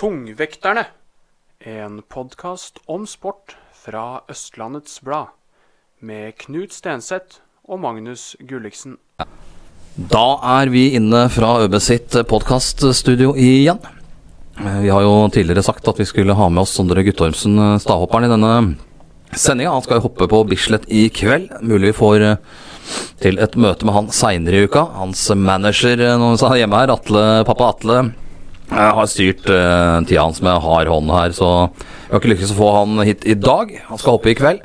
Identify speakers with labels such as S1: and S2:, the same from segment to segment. S1: Tungvekterne. En podkast om sport fra Østlandets Blad. Med Knut Stenseth og Magnus Gulliksen.
S2: Da er vi inne fra ØB sitt podkaststudio igjen. Eh, Vi har jo tidligere sagt at vi skulle ha med oss Sondre Guttormsen, eh, stavhopperen, i denne sendinga. Han skal jo hoppe på Bislett i kveld. Mulig vi får eh, til et møte med han seinere i uka. Hans manager eh, når han er hjemme her, Atle, pappa Atle, eh, har styrt eh, tida hans med hard hånd her, så vi har ikke lykkes å få han hit i dag. Han skal hoppe i kveld.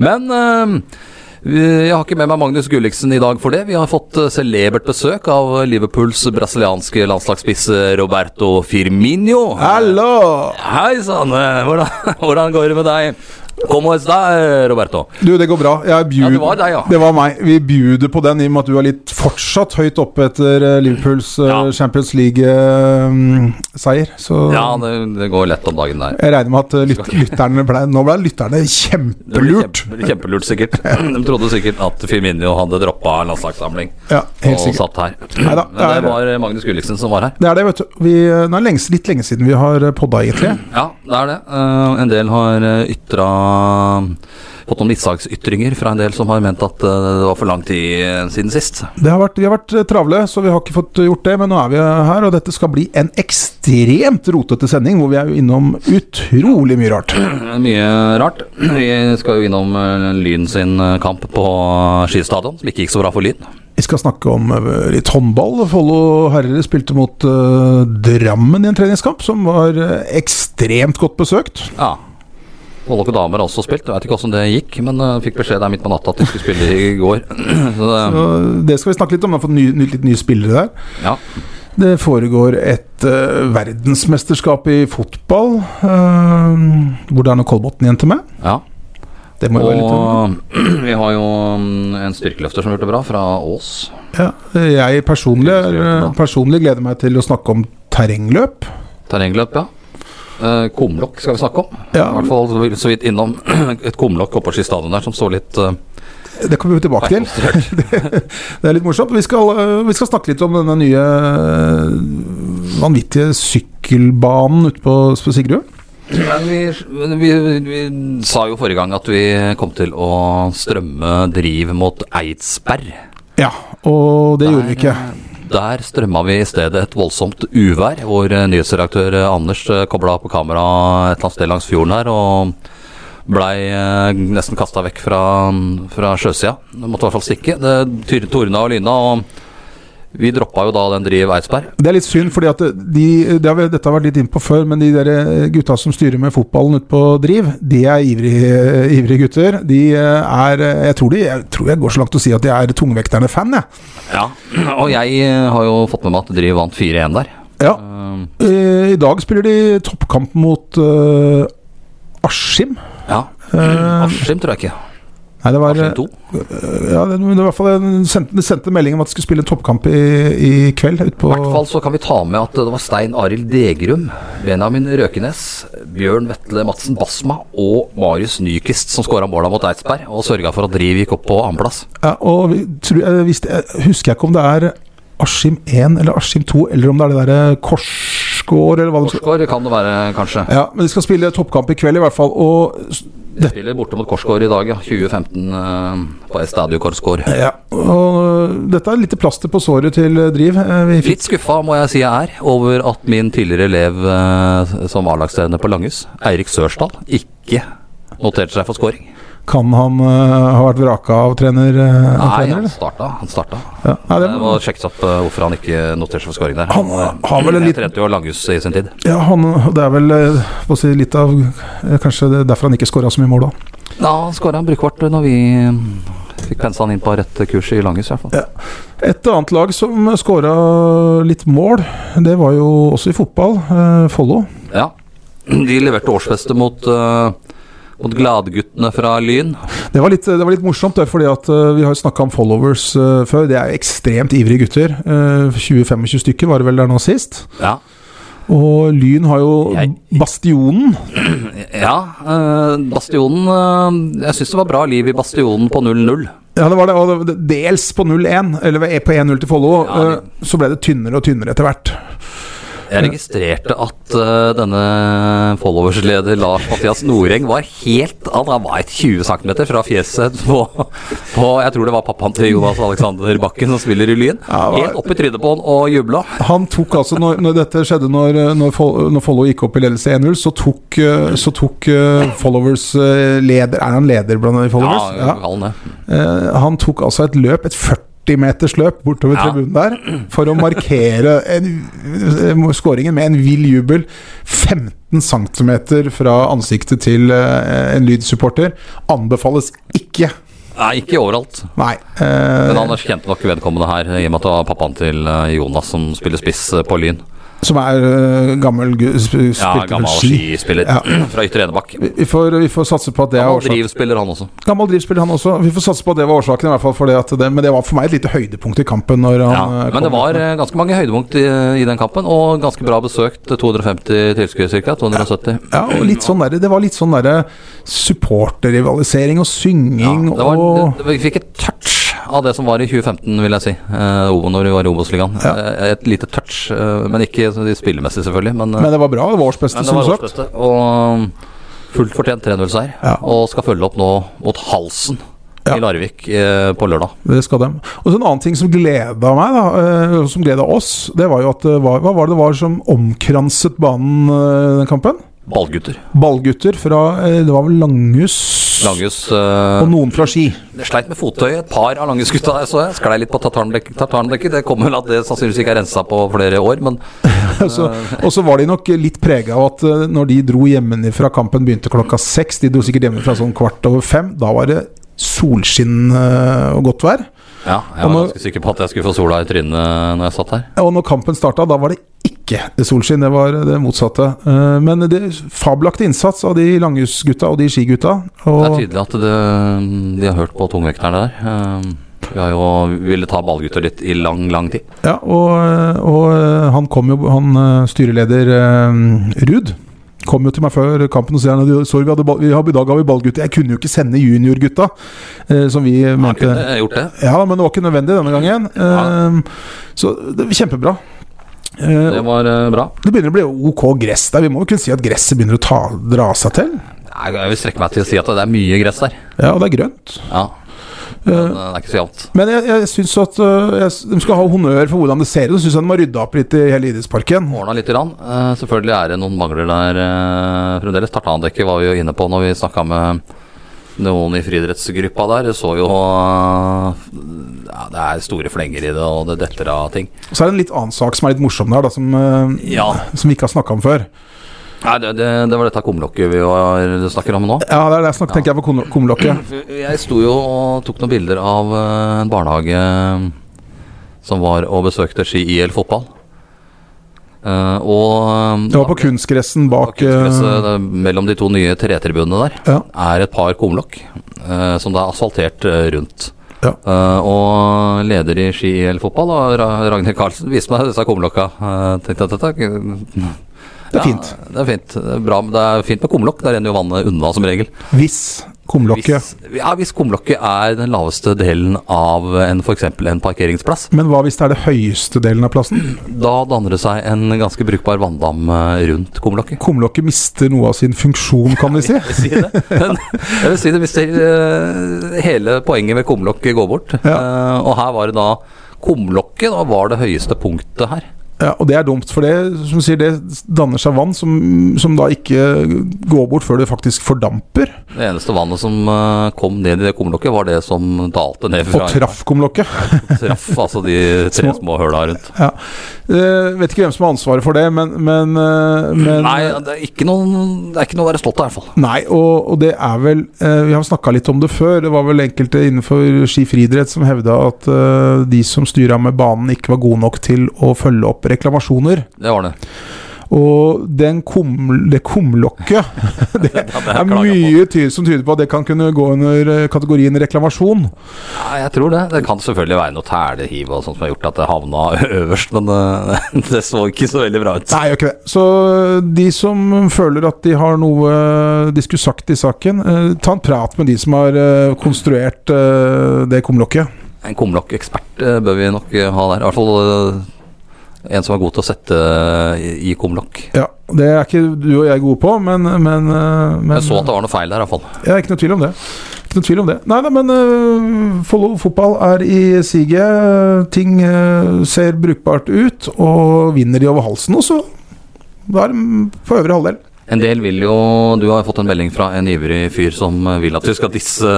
S2: Men eh, jeg har ikke med meg Magnus Gulliksen i dag for det. Vi har fått eh, celebert besøk av Liverpools brasilianske landslagsspiss eh, Roberto Firminho.
S3: Hallo!
S2: Hei sann! eh, Hvordan, hvordan går det med deg? Como está, Roberto?
S3: Du, det går bra. Jeg bjud...
S2: Ja, det var deg, ja.
S3: Det var meg. Vi bjuder på den i og med at du er litt fortsatt høyt oppe etter eh, Liverpools eh,
S2: Ja.
S3: Champions League-seier. Så
S2: Ja, det, det går lett om dagen der.
S3: jeg regner med at eh, lyt lytterne ble Nå ble lytterne
S2: Det blir
S3: kjempelurt.
S2: kjempe- Kjempelurt, sikkert. De trodde sikkert at Firminho hadde droppa landslagssamling
S3: Ja, helt
S2: og
S3: sikkert.
S2: satt her.
S3: Neida,
S2: Men det
S3: det er-
S2: var Magnus Gulliksen som var her.
S3: Det er det, vet du. Vi, eh, nå er det lenge, litt lenge siden vi har eh, podda, egentlig.
S2: Ja, det er det. Eh, en del har eh, ytra Fått noen mishagsytringer fra en del som har ment at eh, det var for lang tid eh, siden sist.
S3: Det har vært, vi har vært eh, travle, så vi har ikke fått eh, gjort det. Men nå er vi eh, her, og dette skal bli en ekstremt rotete sending, hvor vi er jo innom utrolig mye rart.
S2: Eh, Mye rart. Vi skal jo innom eh, Lyn sin eh, kamp på skistadion, som ikke gikk så bra for Lyn.
S3: Vi skal snakke om eh, litt håndball. Follo herrer spilte mot eh, Drammen i en treningskamp som var eh, ekstremt godt besøkt.
S2: Ja. Folk og damer har også spilt. Jeg vet ikke åssen det gikk, men eh, fikk beskjed der midt på natta at de skulle spille i går. Så det,
S3: Og eh, det skal vi snakke litt om. Vi har fått ny, ny, litt nye spillere der.
S2: ja.
S3: Det foregår et eh, verdensmesterskap i fotball, eh, hvor det er noe Kolbotn igjen til meg.
S2: ja.
S3: Det må jo være litt
S2: Og vi har jo mm, en styrkeløfter som har gjort det bra, fra Ås.
S3: ja, Jeg personlig, eh, personlig gleder meg til å snakke om terrengløp.
S2: Terrengløp, ja. Eh, kumlokk skal vi snakke om.
S3: Ja.
S2: I hvert fall så vidt- så vidt innom et kumlokk oppå skistadion der som står litt eh,
S3: Det kommer vi tilbake til.
S2: konstruert.
S3: Det er litt morsomt. Vi skal, øh, vi skal snakke litt om denne nye øh, vanvittige sykkelbanen ute på på Sigrud.
S2: Men vi, men vi, vi sa jo forrige gang at vi kom til å strømme driv mot Eidsberg.
S3: Ja, eh, og det gjorde vi ikke.
S2: Der strømma vi i stedet et voldsomt uvær, hvor eh, nyhetsredaktør eh, Anders kobla på kamera et eller annet sted langs fjorden her og blei eh, nesten kasta vekk fra, fra sjøsida. Det måtte i hvert fall stikke. Det tyr- tordna og lyna, og vi droppa jo da den driv Eidsberg.
S3: Det er litt synd, fordi at de, det har vi, dette har vært litt innpå før, men de der eh, gutta som styrer med fotballen ute på Driv, de er ivrige, eh, ivrige gutter. De eh, er jeg tror, de, jeg tror jeg går så langt å si at de er tungvekterne-fan, jeg.
S2: Ja. Og jeg eh, har jo fått med meg at Driv vant 4-1 der.
S3: Ja.
S2: Eh,
S3: I dag spiller de toppkamp mot øh, Askim.
S2: ja. Askim tror jeg ikke.
S3: Nei, det var
S2: Askim 2.
S3: Ja, det, men det var i hvert fall en sendte, det sendte melding om at de skulle spille en toppkamp i, i kveld. Ut på,
S2: I hvert fall så kan vi ta med at det var Stein Arild Degrum, Benjamin Røkenes, Bjørn Vetle Madsen Basma og Marius Nyquist som skåra måla mot Eidsberg og sørga for at Driv gikk opp på annenplass.
S3: ja, og vi, tror, jeg, hvis det, jeg husker jeg ikke om det er Askim 1 eller Askim 2, eller om det er det derre Korsgård, eller hva det skal
S2: Korsgård kan det være, kanskje.
S3: Ja, men de skal spille toppkamp i kveld, i hvert fall. Og, s-
S2: De spiller borte mot Korsgård i dag, ja. 2015 eh, på Estadio Korsgård.
S3: ja, og eh, dette er litt plaster på såret til eh, Driv. Eh, Vi fikk
S2: Litt skuffa må jeg si jeg er over at min tidligere elev eh, som A-lagstrener på Langhus, Eirik Sørsdal, ikke noterte seg for scoring.
S3: Kan han eh, ha vært vraka av trener? eh, av
S2: Nei,
S3: trener,
S2: han
S3: eller?
S2: starta. Han starta.
S3: Ja. Nei, det,
S2: Det må sjekkes opp eh, hvorfor han ikke noterte seg for scoring der.
S3: Han har vel en
S2: Jeg
S3: liten-
S2: trente jo Langhus i sin tid.
S3: ja, han, det er vel eh, hva si, litt av eh, Kanskje det er derfor han ikke skåra så mye mål, da.
S2: Da skåra han brukbart når vi eh, fikk pensa han inn på rett kurs i Langhus, i hvert fall.
S3: Et annet lag som skåra litt mål, det var jo også i fotball, eh, Follo.
S2: Ja. De leverte årsfeste mot, eh, mot Gladguttene fra Lyn.
S3: Det var litt, det var litt morsomt, det, fordi at eh, vi har snakka om followers eh, før. Det er ekstremt ivrige gutter. Eh, 20-25 stykker var det vel der nå sist.
S2: Ja.
S3: Og Lyn har jo
S2: Jeg-
S3: Bastionen.
S2: ja eh, Bastionen eh, Jeg syns det var bra liv i Bastionen på 0-0.
S3: Ja, det var det. Og det- dels på 0-1, eller ved- på 1-0 til Follo,
S2: Ja,
S3: eh, så ble det tynnere og tynnere etter hvert.
S2: Jeg registrerte at eh, denne followers-leder Lars Mathias Noreng var helt at Han var et 20 cm fra fjeset på, på Jeg tror det var pappaen til Jonas Alexander Bakken som spiller i Lyn.
S3: Ja, hva-
S2: Helt opp i trynet på han og jubla.
S3: Han tok altså, når, når dette skjedde, når, eh, når, Fol- når Follo gikk opp i ledelse 1-0, så tok, eh, så tok eh, Followers eh, leder Er han leder blant de
S2: Ja,
S3: Followers? Ja.
S2: kall han det.
S3: Eh, Han tok altså et løp, et 40 meters løp bortover
S2: Ja.
S3: tribunen der, for å markere en, eh, skåringen med en vill jubel. 15 cm fra ansiktet til eh, en lydsupporter. Anbefales ikke.
S2: Nei, ikke overalt.
S3: Nei. eh,
S2: Men han erkjente nok vedkommende her, i og med at det var pappaen til eh, Jonas som spiller spiss eh, på Lyn.
S3: som er eh, gammel gu- sp-
S2: Ja,
S3: spilte vel
S2: gammel
S3: ski.
S2: skispiller fra Ytre Enebakk.
S3: Vi- Vi får, vi får satse på at det er
S2: Han
S3: årsaken.
S2: drivspiller, han også.
S3: Gammel drivspiller, han også. Vi får satse på at det var årsaken. i hvert fall for det at det, Men det var for meg et lite høydepunkt i kampen. Når han
S2: Ja,
S3: eh, kom
S2: men det var
S3: ut med-
S2: eh, ganske mange høydepunkt i, i den kampen, og ganske bra besøkt. eh, 250 tilskuere ca. 270.
S3: ja, og litt sånn der, Det var litt sånn derre supporterrivalisering og
S2: Ja,
S3: synging
S2: det var,
S3: og
S2: det, vi fikk et touch av det som var i 2015, vil jeg si. Eh, Ovo- når vi var i Obos-ligaen. Eh, et lite touch, eh, men ikke så- spillemessig, selvfølgelig. Men, eh,
S3: Men det var bra. Det var årsbeste,
S2: men det
S3: som
S2: var
S3: sagt.
S2: årsbeste. Og mm, fullt fortjent 3-0-seier.
S3: Ja.
S2: Og skal følge opp nå mot Halsen
S3: Ja.
S2: i Larvik eh, på lørdag.
S3: Det skal dem. Og så En annen ting som gleda meg, da, eh, og som gleda oss, det var jo at det var, Hva var det det var som omkranset banen eh, den kampen?
S2: Ballgutter.
S3: Ballgutter fra eh, Det var vel Langhus
S2: Langhus eh,
S3: og noen fra Ski.
S2: Det sleit med fottøyet. Et par av lange skutta der, så jeg. Sklei litt på tartandekket. tartandekket. Det kommer vel at det sannsynligvis ikke er rensa på flere år, men
S3: Så, og så var de nok litt prega av at eh, når de dro hjemmefra Kampen begynte klokka seks. De dro sikkert hjemmefra sånn kvart over fem. Da var det solskinn eh, og godt vær.
S2: ja, jeg
S3: Og
S2: var
S3: nå-
S2: ganske sikker på at jeg skulle få sola i trynet når jeg satt her.
S3: Og når kampen starta, da var det ikke solskinn. Det var det motsatte. Eh, Men det fabelaktig innsats av de Langhus-gutta og de skigutta.
S2: Det er
S3: Og
S2: tydelig at det, de har hørt på tungvekterne der. Ehm, Vi har jo ville ta ballgutter litt i lang, lang tid.
S3: Ja, og, eh, og han kom jo Han styreleder eh, Ruud kom jo til meg før kampen og sa at vi hadde, ball- vi har- i dag har vi ballgutter. Jeg kunne jo ikke sende juniorgutta, eh, som vi
S2: Man
S3: mente.
S2: kunne gjort det.
S3: Ja, men det var ikke nødvendig denne gangen. Eh, Så det var kjempebra. Eh,
S2: Det var eh, bra.
S3: Det begynner å bli OK gress der. Vi må jo kunne si at gresset begynner å ta, dra seg til.
S2: Nei, Jeg vil strekke meg til å si at det er mye gress der.
S3: Ja, og det er grønt.
S2: Ja, men
S3: Eh,
S2: det er ikke så jevnt.
S3: Men jeg, jeg syns at eh, jeg, s- de skal ha honnør for hvordan det ser ut. Jeg syns de må rydde opp litt i hele idrettsparken.
S2: Ordna litt. Grann. Eh, Selvfølgelig er det noen mangler der eh, fremdeles. Tartandekket var vi jo inne på når vi snakka med noen i friidrettsgruppa der. Det så jo eh, ja, Det er store flenger i det, og det detter av ting.
S3: Så er det en litt annen sak som er litt morsom der, da, som, eh,
S2: Ja.
S3: som vi ikke har snakka om før.
S2: Nei, det, det, det var dette kumlokket vi var, eh, snakker om nå.
S3: Ja, det er det jeg snakker, tenker jeg på kom- kumlokket.
S2: Jeg sto jo og tok noen bilder av eh, en barnehage eh, som var og besøkte Ski IL fotball. Eh, og
S3: Det var på kunstgressen bak eh,
S2: Kunstgresset det- mellom de to nye tretribunene der
S3: Ja.
S2: er et par kumlokk eh, som det er asfaltert eh, rundt.
S3: Ja.
S2: Eh, og leder i Ski IL fotball, da, Ra- Ragnhild Karlsen, viste meg disse kumlokka. Eh, tenkte at dette
S3: Det er fint.
S2: Ja, det er fint. Det er, bra, men det er fint med kumlokk. Der renner jo vannet unna, som regel.
S3: Hvis kumlokket.
S2: Hvis, ja, hvis kumlokket er den laveste delen av en f.eks. en parkeringsplass,
S3: Men hva hvis det er det høyeste delen av plassen?
S2: da danner det seg en ganske brukbar vanndam eh, rundt kumlokket.
S3: Kumlokket mister noe av sin funksjon, kan vi si.
S2: Jeg vil si det. Men jeg vil si det hvis det, eh, hele poenget med kumlokket går bort. Eh, og her var det da Kumlokket da var det høyeste punktet her.
S3: Ja, og det er dumt, for det, som du sier, det danner seg vann som, som da ikke går bort før det faktisk fordamper
S2: Det eneste vannet som eh, kom ned i det kumlokket, var det som dalte ned
S3: og
S2: fra
S3: traff kumlokket.
S2: traff altså de tre små høla rundt.
S3: Ja. Eh, vet ikke hvem som har ansvaret for det, men, men, eh, men
S2: Nei, det er ikke noen, det er ikke noe å være stolt av, i hvert fall.
S3: Nei, og, og det er vel eh, Vi har snakka litt om det før. Det var vel enkelte innenfor ski friidrett som hevda at eh, de som styra med banen, ikke var gode nok til å følge opp reklamasjoner.
S2: Det var det.
S3: Og den kum, det kumlokket
S2: Ja,
S3: Det
S2: det
S3: er
S2: klager jeg på.
S3: mye ty som tyder på at det kan kunne gå under eh, kategorien reklamasjon.
S2: Nei, jeg tror det. Det kan selvfølgelig være noe telehiv og sånt som har gjort at det havna øverst, men eh, det så ikke så veldig bra ut.
S3: Nei, gjør ikke det. Så eh, de som føler at de har noe eh, de skulle sagt i saken, eh, ta en prat med de som har eh, konstruert eh, det kumlokket.
S2: En kumlokkekspert eh, bør vi nok eh, ha der. I hvert fall eh, En som er god til å sette eh, i i kumlokk.
S3: Ja, Det er ikke du og jeg gode på, men, men, eh, men eh,
S2: Jeg så at det var noe feil der, iallfall.
S3: Ja, ikke noe tvil om det. Ikke noe tvil om det. Nei da, men øh, Follo fotball er i siget. øh, Ting øh, ser brukbart ut, og vinner de over halsen også. Da er de på øvre halvdel.
S2: En del vil jo Du har fått en melding fra en ivrig fyr som eh, vil at vi skal disse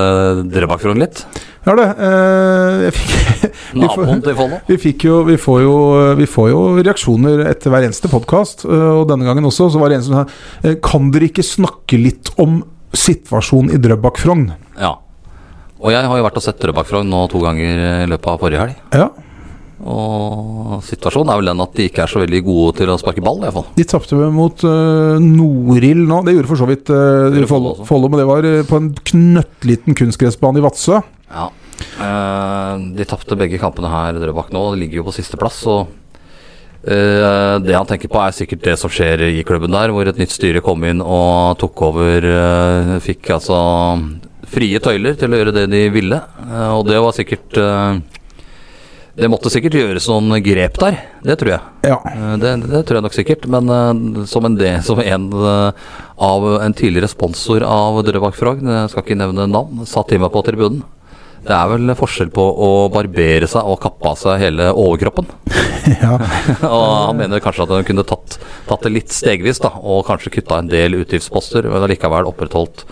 S2: dere bakfra litt.
S3: Ja, det. øh, Jeg fikk, vi, får,
S2: Naboen til Follo.
S3: vi fikk jo Vi får jo, øh, vi får jo reaksjoner etter hver eneste podkast, og denne gangen også. Så var det en som sa øh, Kan dere ikke snakke litt om situasjonen i Drøbak-Frogn?
S2: Ja. Og jeg har jo vært og sett Drøbakfrogn nå to ganger i løpet av forrige helg.
S3: Ja,
S2: Og situasjonen er vel den at de ikke er så veldig gode til å sparke ball, iallfall.
S3: De tapte vel mot uh, Norild nå. Det gjorde for så vidt øh,
S2: gjorde Follo
S3: Follo,
S2: også.
S3: Follo, men det var øh, på en knøttliten kunstgressbane i Vadsø.
S2: Ja. Eh, de tapte begge kampene her, Drøbak nå. De ligger jo på sisteplass. Og eh, det han tenker på, er sikkert det som skjer i klubben der, hvor et nytt styre kom inn og tok over. eh, fikk altså frie tøyler til å gjøre det de ville, eh, og det var sikkert eh, det måtte sikkert gjøres noen grep der, det tror jeg.
S3: Ja.
S2: Eh, Det, det tror jeg nok sikkert. Men eh, som en, del- som en eh, av en tidligere sponsor av Drøbak Frogn, jeg eh, skal ikke nevne navn, sa til meg på tribunen. Det er vel forskjell på å barbere seg og kappe av seg hele overkroppen.
S3: ja.
S2: og han mener kanskje at han kunne tatt, tatt det litt stegvis, da, og kanskje kutta en del utgiftsposter, men allikevel opprettholdt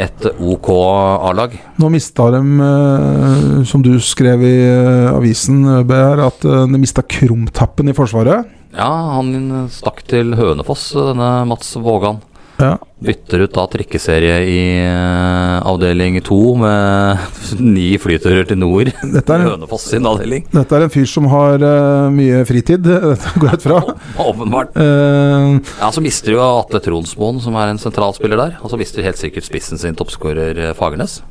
S2: et OK A-lag.
S3: Nå mista de, øh, som du skrev i øh, avisen, Behr, at øh, de mista krumtappen i Forsvaret.
S2: Ja, han stakk til Hønefoss, denne Mats Vågan.
S3: Ja.
S2: Bytter ut da trikkeserie i eh, avdeling to med ni flyturer til nord.
S3: Dette, er,
S2: Hønefoss sin avdeling,
S3: dette er en fyr som har øh, mye fritid, dette går jeg ut fra.
S2: åpenbart.
S3: Eh,
S2: Ja, Så mister jo Atle Tronsmoen, som er en sentralspiller der. Og så mister helt sikkert spissen sin toppskårer eh, Fagernes.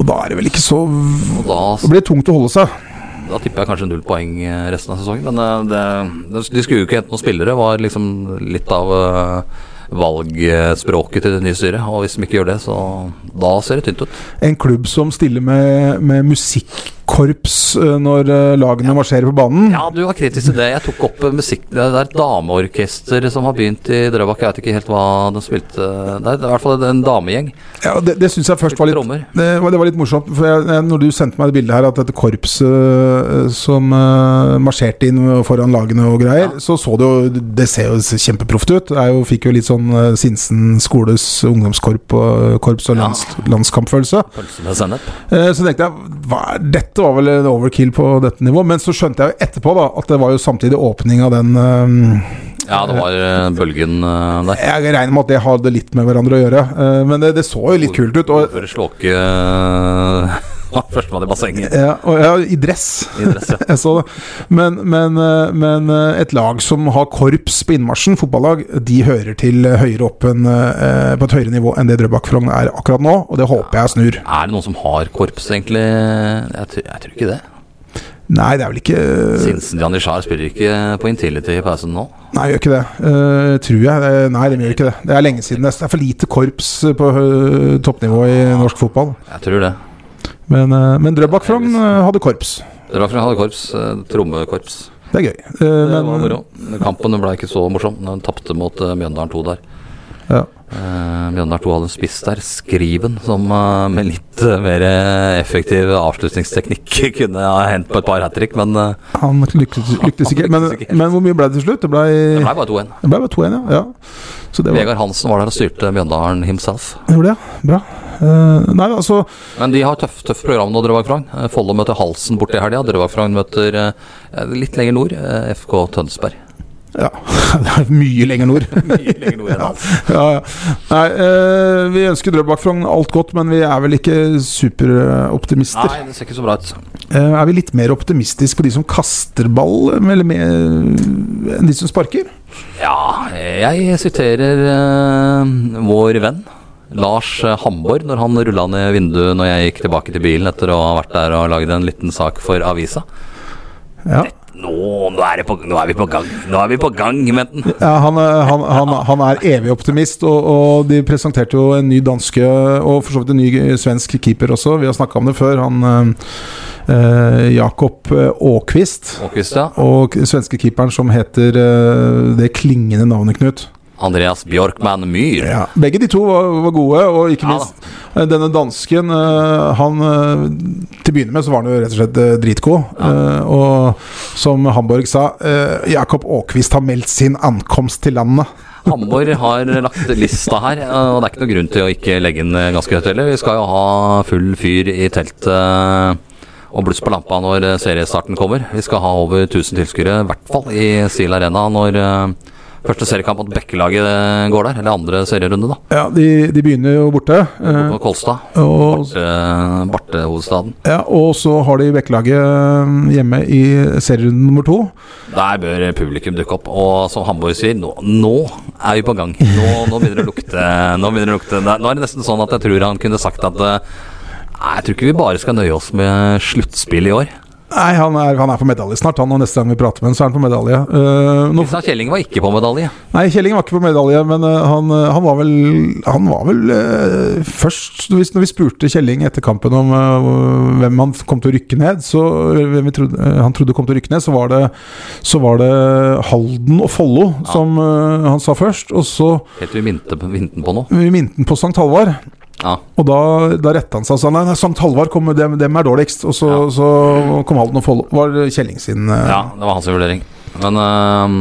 S3: og da er det vel ikke så
S2: Og da,
S3: Det blir tungt å holde seg.
S2: da tipper jeg kanskje null poeng eh, resten av sesongen. Men eh, det, de skulle jo ikke hente noen spillere, var liksom litt av eh, valgspråket til det nye styret. Og hvis de ikke gjør det, så da ser det tynt ut.
S3: En klubb som stiller med, med musikkorps øh, når øh, lagene marsjerer på banen.
S2: Ja, du var kritisk til det. Jeg tok opp eh, musikk Det er et dameorkester som har begynt i Drøbak. Jeg vet ikke helt hva de spilte Det er i hvert fall en damegjeng.
S3: Ja, det, det syns jeg først var litt
S2: Trommer.
S3: det var, det var litt morsomt, for jeg, jeg- når du sendte meg det bildet her, at dette korpset øh, som øh, marsjerte inn foran lagene og greier, så så det jo Det ser jo kjempeproft ut. Jeg jo, fikk jo litt sånn øh, Sinsen skoles ungdomskorps og, eh, korps og
S2: Ja.
S3: lands, landskampfølelse.
S2: Pølse med sennep.
S3: Eh, Så tenkte jeg hva er, dette var vel en overkill på dette nivået, men så skjønte jeg jo etterpå da at det var jo samtidig åpning av den øh,
S2: Ja, det var eh, bølgen eh, der.
S3: Jeg regner med at det hadde litt med hverandre å gjøre, eh, men det, det så jo litt kult ut. Og,
S2: Før slåke eh, var Førstemann i bassenget
S3: ja, og ja, i dress.
S2: i dress, ja.
S3: Jeg så det. Men, men, eh, men eh, et lag som har korps på innmarsjen, fotballag, de hører til eh, høyere opp enn, eh, på et høyere nivå enn det Drøbak Frogn er akkurat nå, og det håper jeg snur.
S2: Er det noen som har korps, egentlig? Jeg, tr- jeg tror ikke det.
S3: Nei, det er vel ikke eh,
S2: Sinsen Janishar spiller ikke på Intility i pausen nå.
S3: Nei, gjør ikke det. Eh, tror jeg. Eh, Nei, de gjør ikke det. Det er lenge siden. Det er for lite korps på eh, toppnivå i norsk fotball.
S2: Jeg tror det.
S3: Men, eh, men Drøbak Frogn eh, hadde korps.
S2: Drøbak hadde korps. eh, Trommekorps.
S3: Det er gøy. Eh,
S2: Det
S3: men-
S2: var moro. Kampen ble ikke så morsom. Den tapte mot eh, Mjøndalen 2 der.
S3: Ja.
S2: Eh, Mjøndalen 2 hadde en spiss der, Skriven, som eh, med litt eh, mer eh, effektiv avslutningsteknikk kunne ha hendt på et par hat trick, men eh,
S3: Han lyktes, lyktes ikke. Men,
S2: lyktes ikke helt.
S3: men hvor mye ble det til slutt? Det ble,
S2: det ble bare 2-1.
S3: det ble bare 2-1, ja. ja. Så det var,
S2: Vegard Hansen var der og styrte Mjøndalen himself.
S3: gjorde det, ja. Bra. Eh, nei, altså
S2: Men de har tøff, tøff program nå, Drøbak Frogn. Eh, Follo møter Halsen borti helga. Drøbak Frogn møter eh, litt lenger nord, eh, FK Tønsberg.
S3: Ja, det er mye lenger nord.
S2: Mye lenger nord enn Halsen.
S3: ja, ja. Nei, eh, vi ønsker Drøbak Frogn alt godt, men vi er vel ikke superoptimister.
S2: Nei, det ser ikke så bra ut.
S3: Eh, er vi litt mer optimistiske på de som kaster ball, eller mer, enn de som sparker?
S2: Ja, jeg siterer eh, vår venn Lars eh, Hamborg når han rulla ned vinduet når jeg gikk tilbake til bilen etter å ha vært der og lagd en liten sak for avisa.
S3: Ja.
S2: nå, nå, er det på, nå er vi på gang, nå er vi på gang, Menten.
S3: Ja, han, er- han, han, han er evig optimist, og, og de presenterte jo en ny danske og for så vidt en ny svensk keeper også. Vi har snakka om det før. Han eh, eh, Jakob Aakvist.
S2: Åkvist, ja.
S3: Og k- svenske keeperen som heter eh, det klingende navnet Knut.
S2: Andreas Bjørkman Myhr.
S3: Begge de to var, var gode, og
S2: Ja
S3: ikke
S2: da.
S3: minst eh, denne dansken eh, Han eh, Til å begynne med så var han jo rett og slett eh, dritgod. eh, Og som Hamburg sa, eh, Jakob Aakvist har meldt sin ankomst til landet.
S2: Hamborg har lagt lista her, og det er ikke noe grunn til å ikke legge den ganske høyt heller. Vi skal jo ha full fyr i teltet og bluss på lampa når eh, seriestarten kommer. Vi skal ha over 1000 tilskuere, i hvert fall i Steele Arena når eh, første seriekamp mot Bekkelaget eh, går der. Eller andre serierunde, da.
S3: Ja, de, de begynner jo borte. eh,
S2: På Kolstad.
S3: Og,
S2: eh, Bartehovedstaden.
S3: ja, og så har de Bekkelaget eh, hjemme i serierunde nummer to.
S2: Der bør publikum dukke opp. Og som Hamburg sier, nå, nå er vi på gang. Nå, nå begynner det å lukte. Nå, begynner det å lukte. Nå er det nesten sånn at jeg tror han kunne sagt at eh, Nei, jeg tror ikke vi bare skal nøye oss med sluttspill i år.
S3: Nei, han er, han er på medalje snart, han. Og neste gang vi prater med ham, så er han på medalje. Eh, nå,
S2: Kristian Kjelling var ikke på medalje.
S3: nei, Kjelling var ikke på medalje, men eh, han, eh, han var vel Han var vel eh, først når vi, når vi spurte Kjelling etter kampen om eh, hvem han kom til å rykke ned, så eller hvem vi trodde, eh, han trodde kom til å rykke ned, så var det, så var det Halden og Follo som eh, han sa først. Og så
S2: Helt til vi minte på- minte den på nå.
S3: vi minte han på Sankt Halvard.
S2: Ja.
S3: Og da, da retta han seg og sa nei, nei Sankt Halvard kom, dem, dem er dårligst. Og så,
S2: Ja.
S3: så kom Halden og Follo. Var Kjelling sin eh,
S2: ja, det var hans vurdering. Men eh,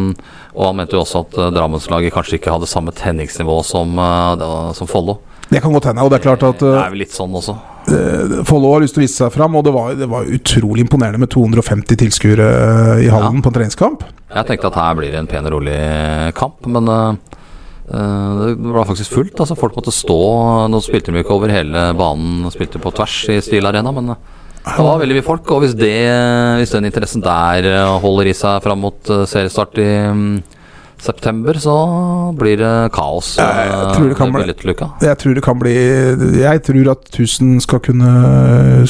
S2: Og han mente jo også at eh, Drammenslaget kanskje ikke hadde samme tenningsnivå som, eh, det- som Follo.
S3: Det kan godt hende. Og det er klart at
S2: Det
S3: eh,
S2: er vel litt sånn også.
S3: Follo har lyst til å vise seg fram, og det var, det var utrolig imponerende med 250 tilskuere eh, i Halden på en treningskamp.
S2: Jeg tenkte at her blir det en pen og rolig kamp, men eh, eh, det var faktisk fullt. altså Folk måtte stå. Nå spilte de jo ikke over hele banen, de spilte på tvers i Steel Arena, men eh, det var veldig mye folk. Og hvis, det, hvis den interessen der eh, holder i seg fram mot eh, seriestart i mm, september, så blir det kaos. Eh,
S3: jeg tror det kan bli-
S2: blir litt luka.
S3: Jeg tror det kan bli Jeg tror at 1000 skal kunne,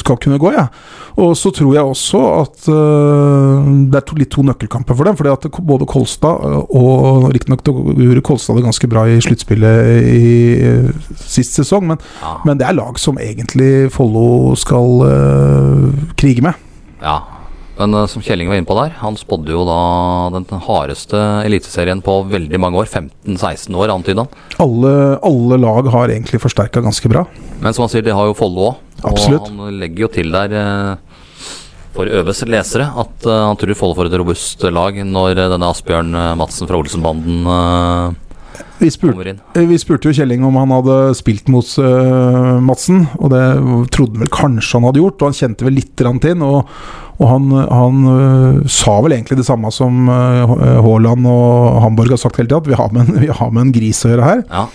S3: skal kunne gå, jeg. Ja. Og så tror jeg også at eh, det er to, litt to nøkkelkamper for dem. Fordi at både Kolstad eh, og Riktignok gjorde Kolstad det ganske bra i sluttspillet i eh, sist sesong, men,
S2: Ja.
S3: men det er lag som egentlig Follo skal eh, krige med.
S2: Ja. Men eh, som Kjelling var inne på der, han spådde jo da den hardeste eliteserien på veldig mange år. 15-16 år, antydet han.
S3: Alle, alle lag har egentlig forsterka ganske bra.
S2: Men som han sier, det har jo Follo òg. Og
S3: Absolutt.
S2: han legger jo til der eh, for Øves lesere at eh, han tror Follo får et robust lag når eh, denne Asbjørn eh, Madsen fra Olsenbanden eh,
S3: Vi spurte,
S2: kommer inn.
S3: eh, vi spurte jo Kjelling om han hadde spilt mot eh, Madsen, og det trodde han vel kanskje han hadde gjort, og han kjente vel litt grann til den, og, og han, han eh, sa vel egentlig det samme som eh, Ha- Haaland og Hamburg har sagt hele tida, at vi har, med en, vi har med en gris å gjøre her.
S2: Ja.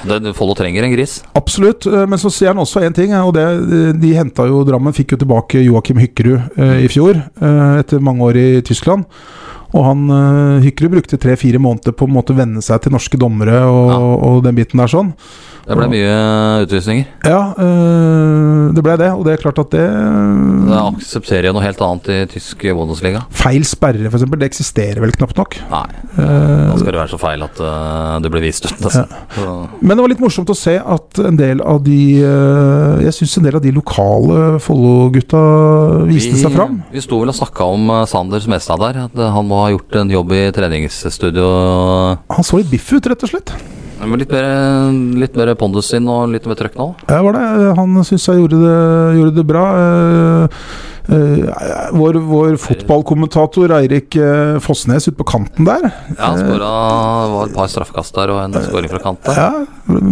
S2: Det- Follo trenger en gris.
S3: Absolutt, eh, men så sier han også én ting, eh, og det eh, de henta jo Drammen fikk jo tilbake Joakim Hykkerud eh, i fjor, eh, etter mange år i Tyskland. Og han eh, Hykkerud brukte tre-fire måneder på en måte å venne seg til norske dommere og, og den biten der sånn.
S2: Det ble mye eh, utvisninger.
S3: Ja, øh, det ble det, og det er klart at det
S2: Det aksepterer jo noe helt annet i tysk Bundesliga.
S3: Feil sperre, f.eks., det eksisterer vel knapt nok.
S2: Nei, da
S3: Eh,
S2: skal det være så feil at eh, det blir vist ut, nesten. Så-
S3: Eh, men det var litt morsomt å se at en del av de øh, Jeg syns en del av de lokale Follo-gutta viste seg fram.
S2: Vi sto vel og snakka om eh, Sanders Mestad der. At eh, han må ha gjort en jobb i treningsstudio.
S3: Han så litt biff ut, rett og slett.
S2: Ja, Men litt mer, litt mer pondus inn og litt mer trøkk nå.
S3: Ja, var det. Eh, Han syns jeg gjorde det, gjorde det bra. Eh, eh, vår vår fotballkommentator Eirik eh, Fossnes ute på kanten der
S2: Ja, han skåra det var et par straffekast der og en skåring fra kant der.
S3: ja,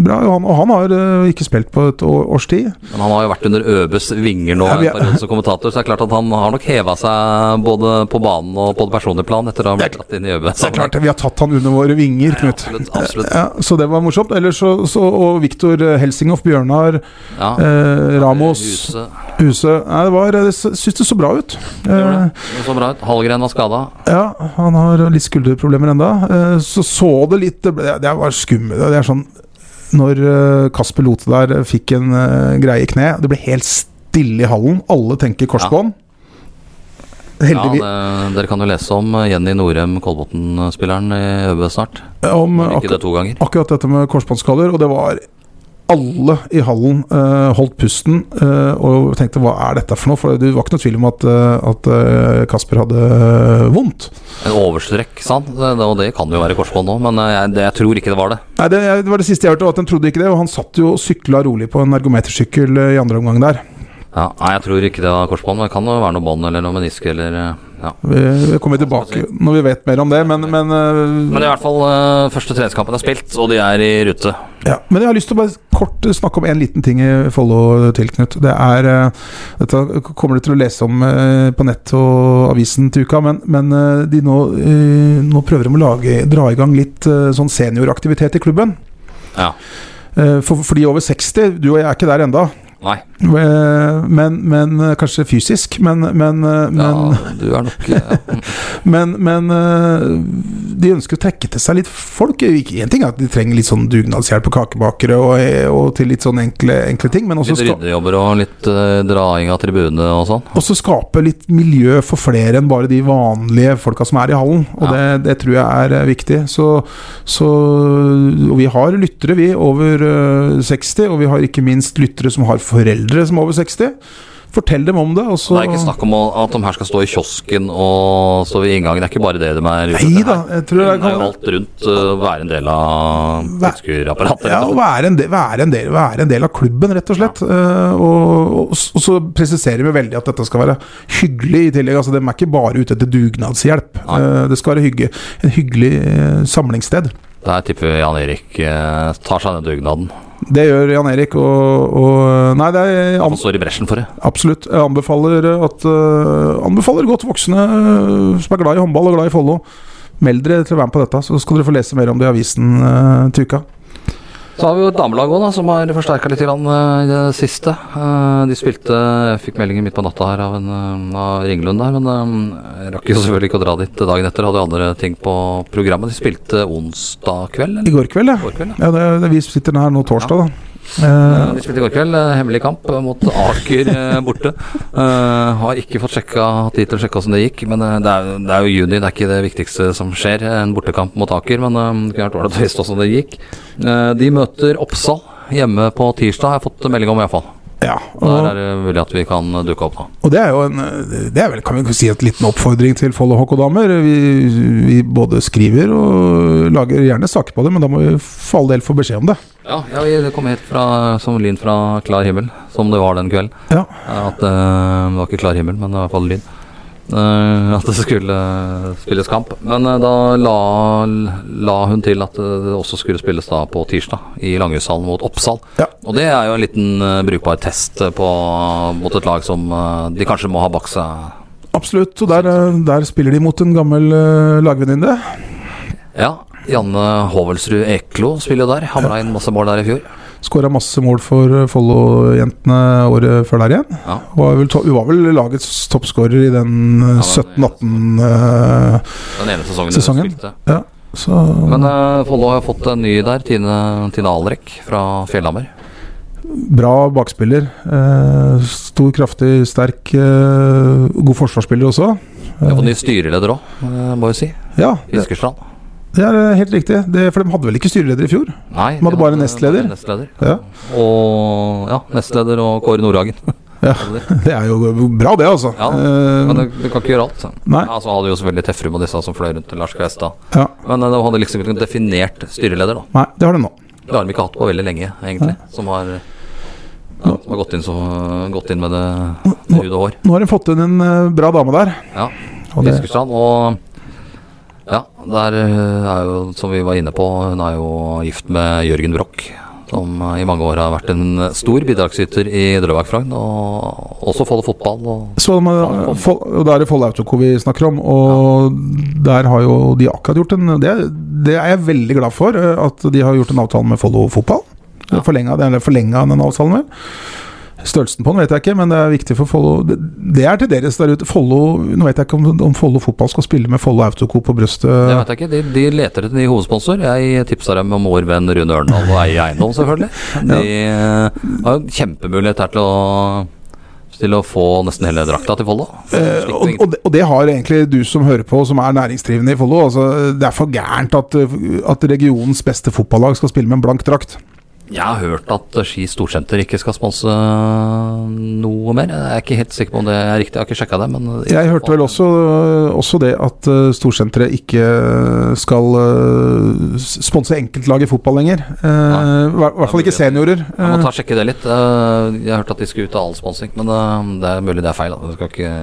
S3: bra, og han, og han har eh, ikke spilt på et år, års tid.
S2: Men han har jo vært under Øbes vinger nå
S3: Ja,
S2: en
S3: vi er-
S2: periode som kommentator, så det er klart at han har nok heva seg både på banen og på det personlige plan etter å ha blitt dratt inn i Øbe.
S3: Det er klart, vi har tatt han under våre vinger, Knut.
S2: Absolutt. absolutt.
S3: Ja, så det var morsomt. Ellers så, så Og Viktor Helsinghoff, Bjørnar,
S2: Ja.
S3: eh, Ramos,
S2: Huset
S3: Huse Nei, det var Jeg syns det så bra ut.
S2: gjorde
S3: Eh,
S2: det. Det så bra ut. Hallgren var skada.
S3: ja, han har litt skulderproblemer enda. Eh, så så det litt Det, ble, det var skummelt. Det er sånn Når eh, Kasper Lote der fikk en eh, greie i kne Det ble helt stille i hallen. Alle tenker korsbånd. Heldigvis.
S2: Ja, det, dere kan jo lese om Jenny Norem, Kolbotn-spilleren i ØB snart.
S3: om
S2: Om ikke
S3: akkurat,
S2: det to ganger.
S3: akkurat dette med korsbåndskaller, og det var alle i hallen eh, holdt pusten eh, og tenkte 'hva er dette for noe?' For det var ikke noe tvil om at, eh, at eh, Kasper hadde eh, vondt.
S2: En overstrekk, sa han. Det- det- Og det kan jo være korsbånd òg, men eh, jeg, det, jeg tror ikke det var det.
S3: Nei, det, det var det siste jeg hørte, var at han trodde ikke det, og han satt jo og sykla rolig på en ergometersykkel eh, i andre omgang der.
S2: Ja, nei, jeg tror ikke det var korsbånd, men det kan jo være noe bånd eller noe menisk eller eh, ja.
S3: Vi kommer tilbake når vi vet mer om det, men, men, eh,
S2: Men i hvert fall, eh, første treningskampen er spilt, og de er i rute.
S3: ja. men jeg har lyst til å bare kort snakke om en liten ting i Follo til, Knut. Det er eh, Dette kommer du til å lese om eh, på nett og avisen til uka, men, men eh, de nå, eh, nå prøver de å lage, dra i gang litt eh, sånn senioraktivitet i klubben.
S2: Ja.
S3: Eh, For, for de over 60, du og jeg er ikke der enda
S2: Nei,
S3: Eh, men, men eh, kanskje fysisk, men, men, eh, men
S2: ja, du er nok eh, ja.
S3: Men, men øh, de ønsker å trekke til seg litt folk. Eh, Ikke- En ting er at de trenger litt sånn dugnadshjelp på kakebakere og, og til litt sånn enkle, enkle ting, men også,
S2: Litt
S3: ska
S2: ryddejobber og litt eh, draing av tribune og sånn.
S3: også skape litt miljø for flere enn bare de vanlige folka som er i hallen. Og
S2: Ja.
S3: det, det tror jeg er eh, viktig. Så, så Og vi har lyttere, vi, over øh, 60, og vi har ikke minst lyttere som har foreldre som er over 60. Fortell dem om det, og så
S2: Det er ikke snakk om å- at de her skal stå i kiosken og stå ved inngangen. Det er ikke bare det de er ute
S3: Nei
S2: etter
S3: da,
S2: her.
S3: jeg tror det
S2: Det er jo
S3: kan
S2: alt rundt uh, være en del av
S3: Hva-
S2: tilskuerapparatet. liksom.
S3: Ja, og være en, del, være, en del, være en del av klubben, rett og slett. Eh, og, og, s- og så presiserer vi veldig at dette skal være hyggelig i tillegg. Altså, De er ikke bare ute etter dugnadshjelp.
S2: Nei.
S3: Eh, det skal være hygge, en hyggelig eh, samlingssted.
S2: Der tipper vi Jan Erik eh, tar seg den dugnaden.
S3: Det gjør Jan Erik, og, og Nei, det er an,
S2: Han står i bresjen for det.
S3: absolutt. Jeg anbefaler, at, eh, anbefaler godt voksne eh, som er glad i håndball og glad i Follo. Meld dere til å være med på dette, så skal dere få lese mer om det i avisen eh, til uka.
S2: Så har vi jo et damelag òg, da, som har forsterka litt grann, eh, i det siste. Eh, De spilte Jeg fikk meldinger midt på natta her av, en, eh, av Ringelund der, men eh, jeg rakk jo selvfølgelig ikke å dra dit dagen etter. Hadde jo andre ting på programmet. De spilte onsdag kveld, eller?
S3: I går kveld, ja.
S2: Går kveld, ja.
S3: ja det, det, vi sitter her nå torsdag, da. Eh,
S2: De spilte i går kveld. eh, Hemmelig kamp eh, mot Aker eh, borte. Eh, har ikke fått sjekka, hatt tid til å sjekke åssen det gikk, men eh, det er, det er jo juni. Det er ikke det viktigste som skjer. eh, En bortekamp mot Aker, men eh, det kunne vært ålreit å vite åssen det gikk. Eh, de møter Oppsal hjemme på tirsdag, har jeg fått melding om iallfall.
S3: Ja,
S2: Der
S3: og,
S2: er det mulig at vi kan dukke opp, da.
S3: og det er jo en Det er vel, kan vi ikke si, en liten oppfordring til Follo HK-damer. Vi, vi både skriver og lager gjerne saker på det, men da må vi for all del få beskjed om det.
S2: Ja, vi kom hit fra, som lyn fra klar himmel, som det var den kvelden.
S3: Ja.
S2: Eh, At eh, Det var ikke klar himmel, men det var i hvert fall lyn. Eh, at det skulle spilles kamp. Men eh, da la, la hun til at eh, det også skulle spilles da på tirsdag i Langhushallen mot Oppsal.
S3: Ja.
S2: Og det er jo en liten eh, brukbar test eh, på, mot et lag som eh, de kanskje må ha bak seg.
S3: Absolutt. Og der, eh, der spiller de mot en gammel eh, lagvenninne.
S2: Ja, Janne Hovelsrud Eklo spiller jo der. Hamra inn masse mål der i fjor.
S3: Skåra masse mål for eh, Follo-jentene året før der igjen.
S2: Ja.
S3: Var vel, to- hun var vel lagets toppskårer i den eh,
S2: Ja,
S3: 17-18 eh,
S2: Den ene sesongen,
S3: Sesongen?
S2: du spilte.
S3: Så
S2: Men eh, Follo har fått en ny der, Tine, Tine Alrek fra Fjellhammer.
S3: bra bakspiller. Eh, stor, kraftig, sterk, eh, god forsvarsspiller også.
S2: De har fått ny styreleder òg, må jo si.
S3: Ja, det,
S2: Fiskerstrand.
S3: det er eh, helt riktig. Det, for de hadde vel ikke styreleder i fjor?
S2: Nei,
S3: De hadde bare
S2: en
S3: nestleder.
S2: nestleder.
S3: Ja.
S2: Og ja, nestleder og Kåre Nordhagen.
S3: Det er jo bra, det, altså.
S2: Ja,
S3: Eh,
S2: Men du, du kan ikke gjøre alt. så.
S3: Nei.
S2: Ja, så hadde jo selvfølgelig Teffrum og disse som fløy rundt Lars Kvestad.
S3: Ja.
S2: Men eh, de hadde liksom ikke noen definert styreleder, da.
S3: Nei, det har de nå.
S2: Det har de ikke hatt på veldig lenge, egentlig. Som har, ja, som har gått, inn så, gått inn med det med hud og hår.
S3: Nå har de fått inn en eh, bra dame der.
S2: Ja.
S3: Og det,
S2: Fiskerstrand. Og ja, der eh, er jo, som vi var inne på, hun er jo gift med Jørgen Broch. Som eh, i mange år har vært en stor bidragsyter i Drøbak Frogn, og også Follo fotball. Og
S3: så de, eh, Fol- og da er det Folle Autoco vi snakker om, og der har jo de akkurat gjort en Det, det er jeg veldig glad for, eh, at de har gjort en avtale med Follo Fotball.
S2: Ja.
S3: Forlenga, eller forlenga den avtalen, vel. Størrelsen på den vet jeg ikke, men det er viktig for Follo. Det det er til deres der ute. Follo Nå vet jeg ikke om, om Follo fotball skal spille med Follo Autoco på brystet.
S2: det vet jeg ikke, de, de leter etter ny hovedsponsor. Jeg tipsa dem om vår venn Rune Ørndal og Eie Eiendom, selvfølgelig. De eh, har jo en kjempemulighet her til å til å få nesten hele drakta til Follo.
S3: Eh, og, og, det, og det har egentlig du som hører på, som er næringsdrivende i Follo. Altså, det er for gærent at, eh, at regionens beste fotballag skal spille med en blank drakt.
S2: Jeg har hørt at Ski Storsenter ikke skal sponse eh, noe mer. Jeg er ikke helt sikker på om det er riktig, jeg har ikke sjekka det. Men
S3: Jeg hørte vel også, også det at eh, Storsenteret ikke skal eh, s- sponse enkeltlag i fotball lenger. Eh, I hver- hvert fall ikke seniorer.
S2: Jeg må
S3: Eh,
S2: ta og sjekke det litt. Eh, Jeg har hørt at de skulle ut av all sponsing, men eh, det er mulig det er feil. da. Du skal ikke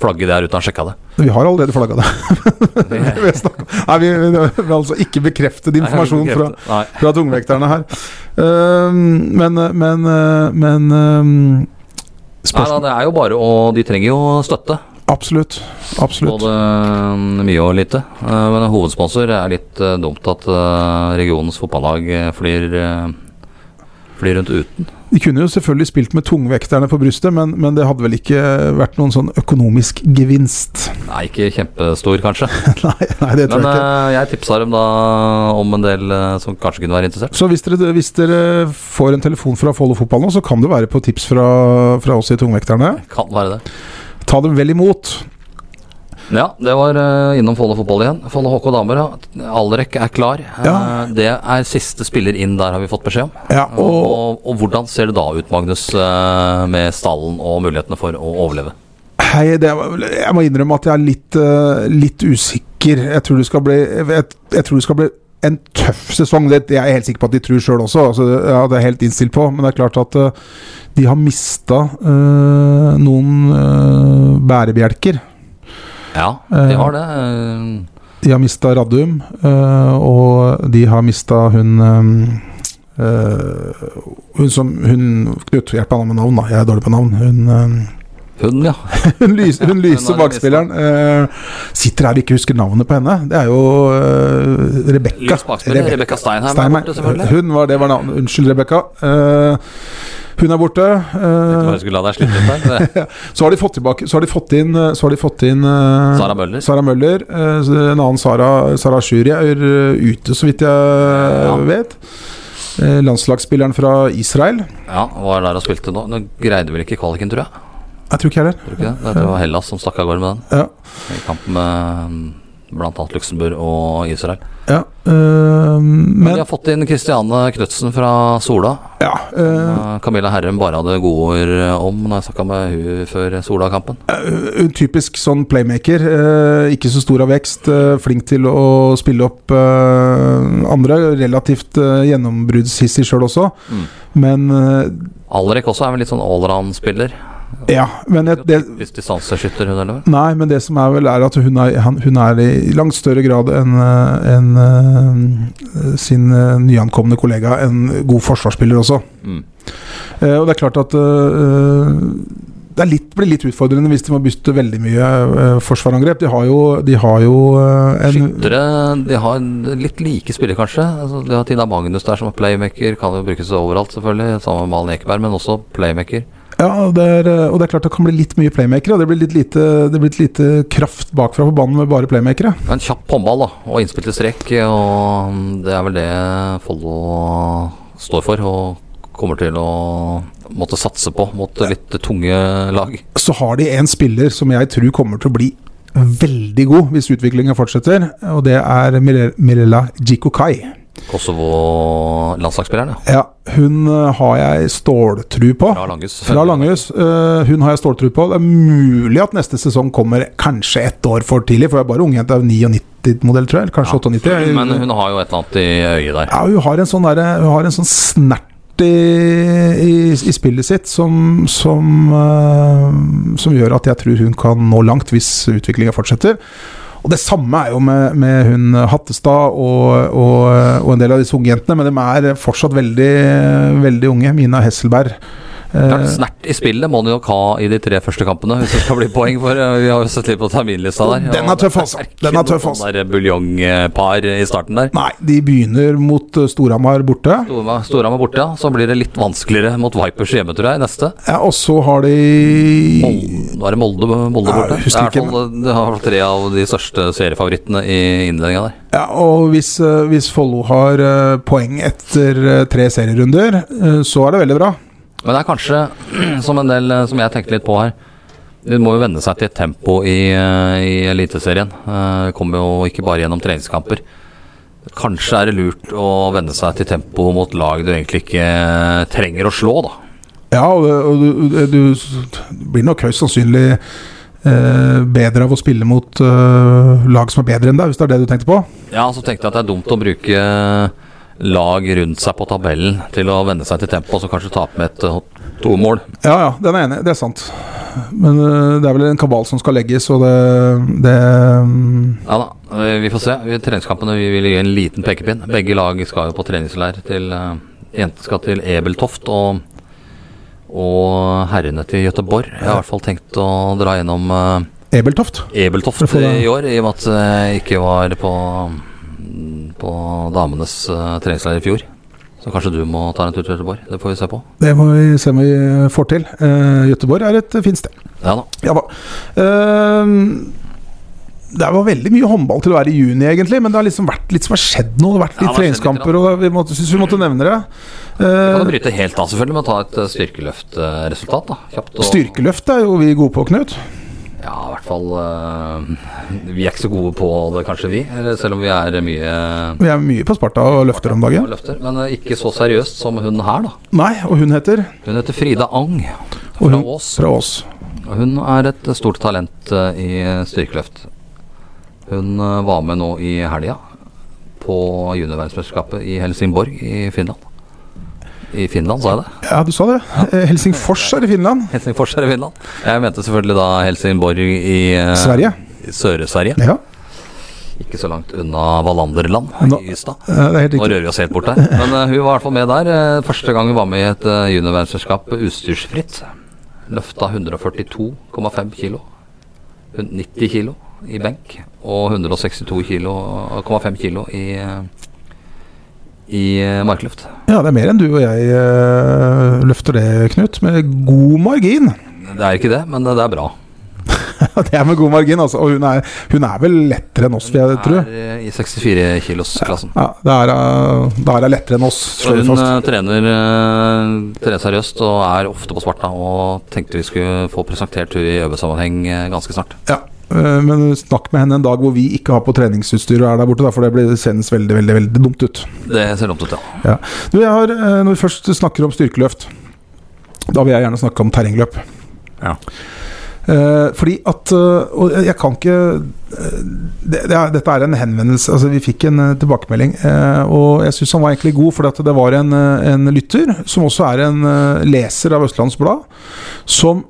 S2: flagge der uten å ha sjekka det.
S3: Vi har allerede flagga det. Vi har snakket- Nei, vi vi vil altså ikke bekrefte din informasjon fra,
S2: Nei.
S3: fra tungvekterne her. Eh, Men, men, eh, men eh,
S2: Nei, da,
S3: spørsmål,
S2: det er jo bare å De trenger jo støtte.
S3: Absolutt. Absolutt.
S2: Både eh, mye og lite. Eh, Men hovedsponsor er litt eh, dumt at eh, regionens fotballag eh, flyr, eh, flyr rundt uten.
S3: De kunne jo selvfølgelig spilt med tungvekterne på brystet, men, men det hadde vel ikke vært noen sånn økonomisk gevinst.
S2: Nei, ikke kjempestor, kanskje.
S3: nei, nei, det tror
S2: Men
S3: jeg ikke.
S2: eh, jeg tipsa dem da om en del eh, som kanskje kunne være interessert.
S3: Så hvis dere, hvis dere får en telefon fra Follo fotball nå, så kan det være på tips fra, fra oss i Tungvekterne.
S2: Kan være det.
S3: Ta dem vel imot.
S2: Ja, det var eh, innom Follo fotball igjen. Follo HK damer, ja. Alrek er klar. Eh,
S3: Ja.
S2: Det er siste spiller inn der, har vi fått beskjed om.
S3: Ja,
S2: Og,
S3: og
S2: og, hvordan ser det da ut, Magnus, eh, med stallen og mulighetene for å overleve?
S3: hei, det, var vel- jeg må innrømme at jeg er litt, eh, litt usikker. Jeg tror det skal bli, jeg, jeg tror det skal bli en tøff sesong. Det jeg er jeg helt sikker på at de tror sjøl også. Altså, ja, det er jeg helt innstilt på. Men det er klart at eh, de har mista eh, noen eh, bærebjelker.
S2: Ja, de har det. eh,
S3: De har mista Radium, øh, og de har mista hun øhm, øh, Hun som Hun Knut, hjelp meg nå med navn, da. Jeg er dårlig på navn. Hun, øhm,
S2: Hun, ja.
S3: hun, lys, hun
S2: Hun har
S3: lyse
S2: de
S3: bakspilleren. øh, sitter her og ikke husker navnet på henne. Det er jo øh, Rebekka.
S2: Lys bakspiller.
S3: Rebe-
S2: Rebekka Steinheim, er
S3: Steinmeier.
S2: borte, selvfølgelig.
S3: Hun var, det var navnet. Unnskyld, Rebekka. Øh, hun er borte.
S2: Jeg
S3: øh,
S2: bare skulle la deg slippe litt der. Det-
S3: så har de fått tilbake Så har de fått inn, øh, så har de fått inn øh,
S2: eh, Sara Møller.
S3: Sara Møller. eh, så En annen Sara, Sara Sjuri er eh, ute, så vidt jeg vet. Eh, Landslagsspilleren fra Israel.
S2: Ja, var der og spilte nå. Nå greide vel ikke kvaliken, tror jeg.
S3: Jeg tror ikke jeg er der.
S2: Tror du ikke det? Jeg tror det var Hellas som stakk av gårde med den.
S3: Ja.
S2: I kamp med bl.a. Luxembourg og Israel.
S3: Ja, eh,
S2: Men de
S3: men
S2: har fått inn Christiane Knutsen fra Sola.
S3: ja, eh,
S2: Eh, Camilla Herrem bare hadde gode ord eh, om når jeg snakka med hun før Sola-kampen.
S3: en typisk sånn playmaker. eh, ikke så stor av vekst. eh, flink til å spille opp eh, andre. Relativt eh, gjennombruddshissig sjøl også.
S2: Mm.
S3: Men eh,
S2: Alrek også er vel litt sånn allround-spiller.
S3: ja. Men jeg, det,
S2: Hvis distanseskytter, hun eller noe.
S3: Nei, men det som er vel er at hun er, han, hun er i langt større grad enn eh, enn, eh, sin eh, nyankomne kollega en god forsvarsspiller også.
S2: Mm.
S3: Eh, og det er klart at eh, det er litt, blir litt utfordrende hvis de må bytte veldig mye eh, forsvarangrep. De har jo, de har jo eh, en
S2: Skyttere de har litt like spillere, kanskje. Altså, de har Tina Magnus der som er playmaker. Kan jo brukes overalt, selvfølgelig. Sammen med Malen Ekeberg, men også playmaker.
S3: Ja, det er, eh, og det er klart det kan bli litt mye playmakere. og Det blir litt lite, det blir litt lite kraft bakfra på banen med bare playmakere.
S2: En kjapp håndball da, og innspill til strekk, og det er vel det Follo står for. Og kommer til å måtte satse på mot litt tunge lag.
S3: så har de en spiller som jeg tror kommer til å bli veldig god hvis utviklinga fortsetter, og det er Mire- Mirella Jikokai.
S2: Kosovo-landslagsspilleren, ja.
S3: Ja, hun eh, har jeg ståltru på.
S2: Fra Langhus.
S3: Fra Langhus. eh, Hun har jeg ståltru på. Det er mulig at neste sesong kommer kanskje ett år for tidlig, for hun er bare ungjente. er 99-modell, tror jeg. Eller kanskje 98.
S2: Men hun har jo et eller annet i øyet der.
S3: Ja, hun har en sånn, derre- hun har en sånn snert i, i, i spillet sitt som, som, eh, som gjør at jeg tror hun kan nå langt hvis utviklinga fortsetter. Og Det samme er jo med, med hun Hattestad og, og, og en del av disse unge jentene, men de er fortsatt veldig, veldig unge. Mina Hesselberg.
S2: Det er
S3: Eh,
S2: en Snert i spillet må hun nok ha i de tre første kampene, hvis det skal bli poeng. For eh, vi har jo sett litt på terminlista der.
S3: Den er
S2: og det
S3: tøff, altså.
S2: ikke
S3: Den er
S2: noe
S3: tøff,
S2: sånn
S3: altså.
S2: der Buljongpar i starten der.
S3: nei, de begynner mot eh, Storhamar borte.
S2: Storhamar Storhamar borte, ja. Så blir det litt vanskeligere mot Vipers hjemme, tror jeg, i neste.
S3: Ja, og så har de
S2: Molde, var det Molde, Molde
S3: Ja,
S2: borte? Det
S3: jeg husker
S2: er i
S3: ikke,
S2: hvert fall det har vært tre av de største seriefavorittene i innledninga der.
S3: Ja, og hvis, eh, hvis Follo har eh, poeng etter eh, tre serierunder, eh, så er det veldig bra.
S2: Men det er kanskje, som en del eh, som jeg tenkte litt på her De må jo venne seg til et tempo i, eh, i Eliteserien. Eh, Kommer jo ikke bare gjennom treningskamper. Kanskje er det lurt å venne seg til tempo mot lag du egentlig ikke eh, trenger å slå, da.
S3: Ja, og, og du, eh, du blir nok høyst sannsynlig eh, bedre av å spille mot eh, lag som er bedre enn deg, hvis det er det du tenkte på.
S2: Ja, så tenkte jeg at det er dumt å bruke lag rundt seg på tabellen til å venne seg til tempo, og så kanskje tape med et eh, to-mål.
S3: Ja, ja, den er enig. Det er sant. Men eh, det er vel en kabal som skal legges, og det, det mm,
S2: Ja da, eh, vi får se. Vi- Treningskampene vi vil gi en liten pekepinn. Begge lag skal jo på treningsleir. Til, eh, jentene skal til Ebeltoft og, og herrene til Gøteborg. Jeg har i hvert fall tenkt å dra gjennom
S3: Ebeltoft.
S2: eh, Ebeltoft
S3: For å få det-
S2: i år, i og med at eh, jeg ikke var på, mm, på damenes eh, treningsleir i fjor. Så kanskje du må ta en tur til Gøteborg. Det får vi se på.
S3: Det må vi se om vi får til. Uh, Gøteborg er et fint sted.
S2: Ja da.
S3: Ja da. Ehm, det var veldig mye håndball til å være i juni, egentlig, men det har liksom vært litt som har skjedd noe. Det har vært
S2: Ja, det
S3: litt
S2: har skjedd litt,
S3: treningskamper, og det, vi måtte, synes vi måtte nevne det.
S2: Vi kan jo
S3: Uh,
S2: bryte helt av selvfølgelig med å ta et eh, styrkeløftresultat. da, kjapt. og-
S3: styrkeløft er jo vi gode på, Knut.
S2: Ja, i hvert fall eh, Vi er ikke så gode på det, kanskje vi. eller Selv om vi er mye
S3: Vi er mye på Sparta og løfter om dagen.
S2: løfter. Men eh, ikke så seriøst som hun her, da.
S3: Nei, og hun heter
S2: Hun heter Frida Ang
S3: Og
S2: fra Ås.
S3: Fra Ås.
S2: Og Hun er et stort talent eh, i styrkeløft. Hun eh, var med nå i helga på juniorverdensmesterskapet i Helsingborg i Finland. I Finland, sa jeg det?
S3: Ja, du sa det. Eh, Helsingfors er i Finland.
S2: Helsingfors er i Finland. Jeg mente selvfølgelig da Helsingborg i eh,
S3: Sverige.
S2: i Søre-Sverige.
S3: Ja,
S2: Ikke så langt unna Wallanderland
S3: Nå-
S2: i Ystad.
S3: eh, det er helt
S2: Nå
S3: riktig.
S2: rører vi oss helt bort her. Men eh, hun var i hvert fall med der. eh, første gang hun var med i et uh, juniorverdensmesterskap utstyrsfritt. Løfta 142,5 kilo. Hun- 90 kilo i benk. Og 162,5 kilo, kilo i, eh, i eh, markløft.
S3: Ja, det er mer enn du og jeg eh, løfter det, Knut. Med god margin.
S2: Det er ikke det, men det, det er bra.
S3: det er med god margin, altså. Og hun er, hun er vel lettere enn oss, vil jeg tro.
S2: er eh, i 64-kilosklassen.
S3: Ja, det er, eh, da er det lettere enn oss, slår vi
S2: Hun
S3: fast.
S2: eh, trener, eh, trener seriøst og er ofte på Sparta. Og tenkte vi skulle få presentert henne i øvesammenheng eh, ganske snart.
S3: Ja. eh, Men snakk med henne en dag hvor vi ikke har på treningsutstyr og er der borte, da, for det blir sendes veldig, veldig veldig dumt ut.
S2: Det ser dumt ut, ja.
S3: Ja. Du, jeg har, eh, når vi først snakker om styrkeløft, da vil jeg gjerne snakke om terrengløp.
S2: Ja.
S3: Eh, fordi at eh, Og jeg kan ikke eh, det, det er, Dette er en henvendelse Altså, vi fikk en eh, tilbakemelding, eh, og jeg syns han var egentlig god, fordi at det var en, eh, en lytter, som også er en eh, leser av Østlands Blad, som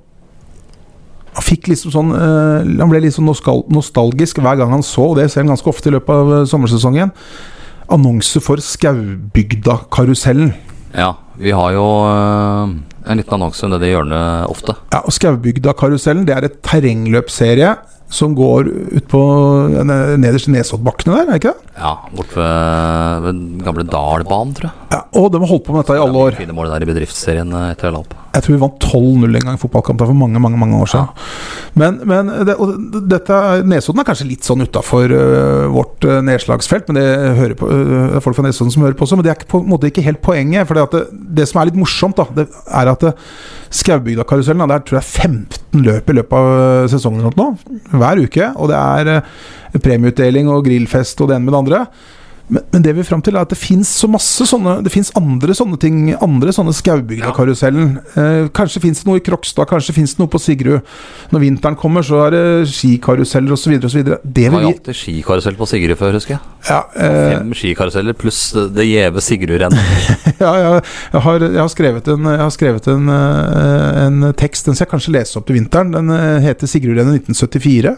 S3: han fikk liksom sånn eh, Han ble litt sånn noskal- nostalgisk hver gang han så, og det ser han ganske ofte i løpet av eh, sommersesongen, annonse for Skaubygda-karusellen.
S2: ja. Vi har jo eh, en liten annonse nede i hjørnet ofte.
S3: Ja, og Skaubygda-karusellen det er et terrengløpserie som går ut på nederst i Nesoddbakkene der, er det ikke det?
S2: Ja, Bort ved, ved den gamle Dalbanen, tror jeg.
S3: Ja, og de har holdt på med dette i alle år.
S2: Fine mål der i bedriftsserien eh, etter jeg la opp.
S3: Jeg tror vi vant 12-0 en gang i fotballkamp der for mange mange, mange år siden. Men, men det, og det- dette, er- Nesodden er kanskje litt sånn utafor vårt øh, nedslagsfelt, men det hører på, øh, det er folk fra Nesodden som hører på også. Men det er ikke, på en måte ikke helt poenget. For det, at det, det som er litt morsomt, da, det er at det- Skaubygda-karusellen da, der tror jeg 15 løp i løpet av øh, sesongen eller noe, hver uke. Og det er øh, premieutdeling og grillfest og det ene med det andre. Men, men det vi er fram til, er at det fins så masse sånne Det fins andre sånne ting. Andre sånne Skaubygda-karusellen. Eh, kanskje fins det noe i Krokstad, kanskje fins det noe på Sigrud. Når vinteren kommer, så er det skikaruseller osv. osv. Det
S2: Det var
S3: vil
S2: jo
S3: vi
S2: alltid skikarusell på Sigrud før, husker jeg.
S3: ja, eh,
S2: Fem skikaruseller pluss det- det gjeve Sigrud-rennet.
S3: ja, jeg, jeg, har, jeg har skrevet, en, jeg har skrevet en, eh, en tekst, den skal jeg kanskje lese opp til vinteren. Den eh, heter 'Sigrudrennet 1974',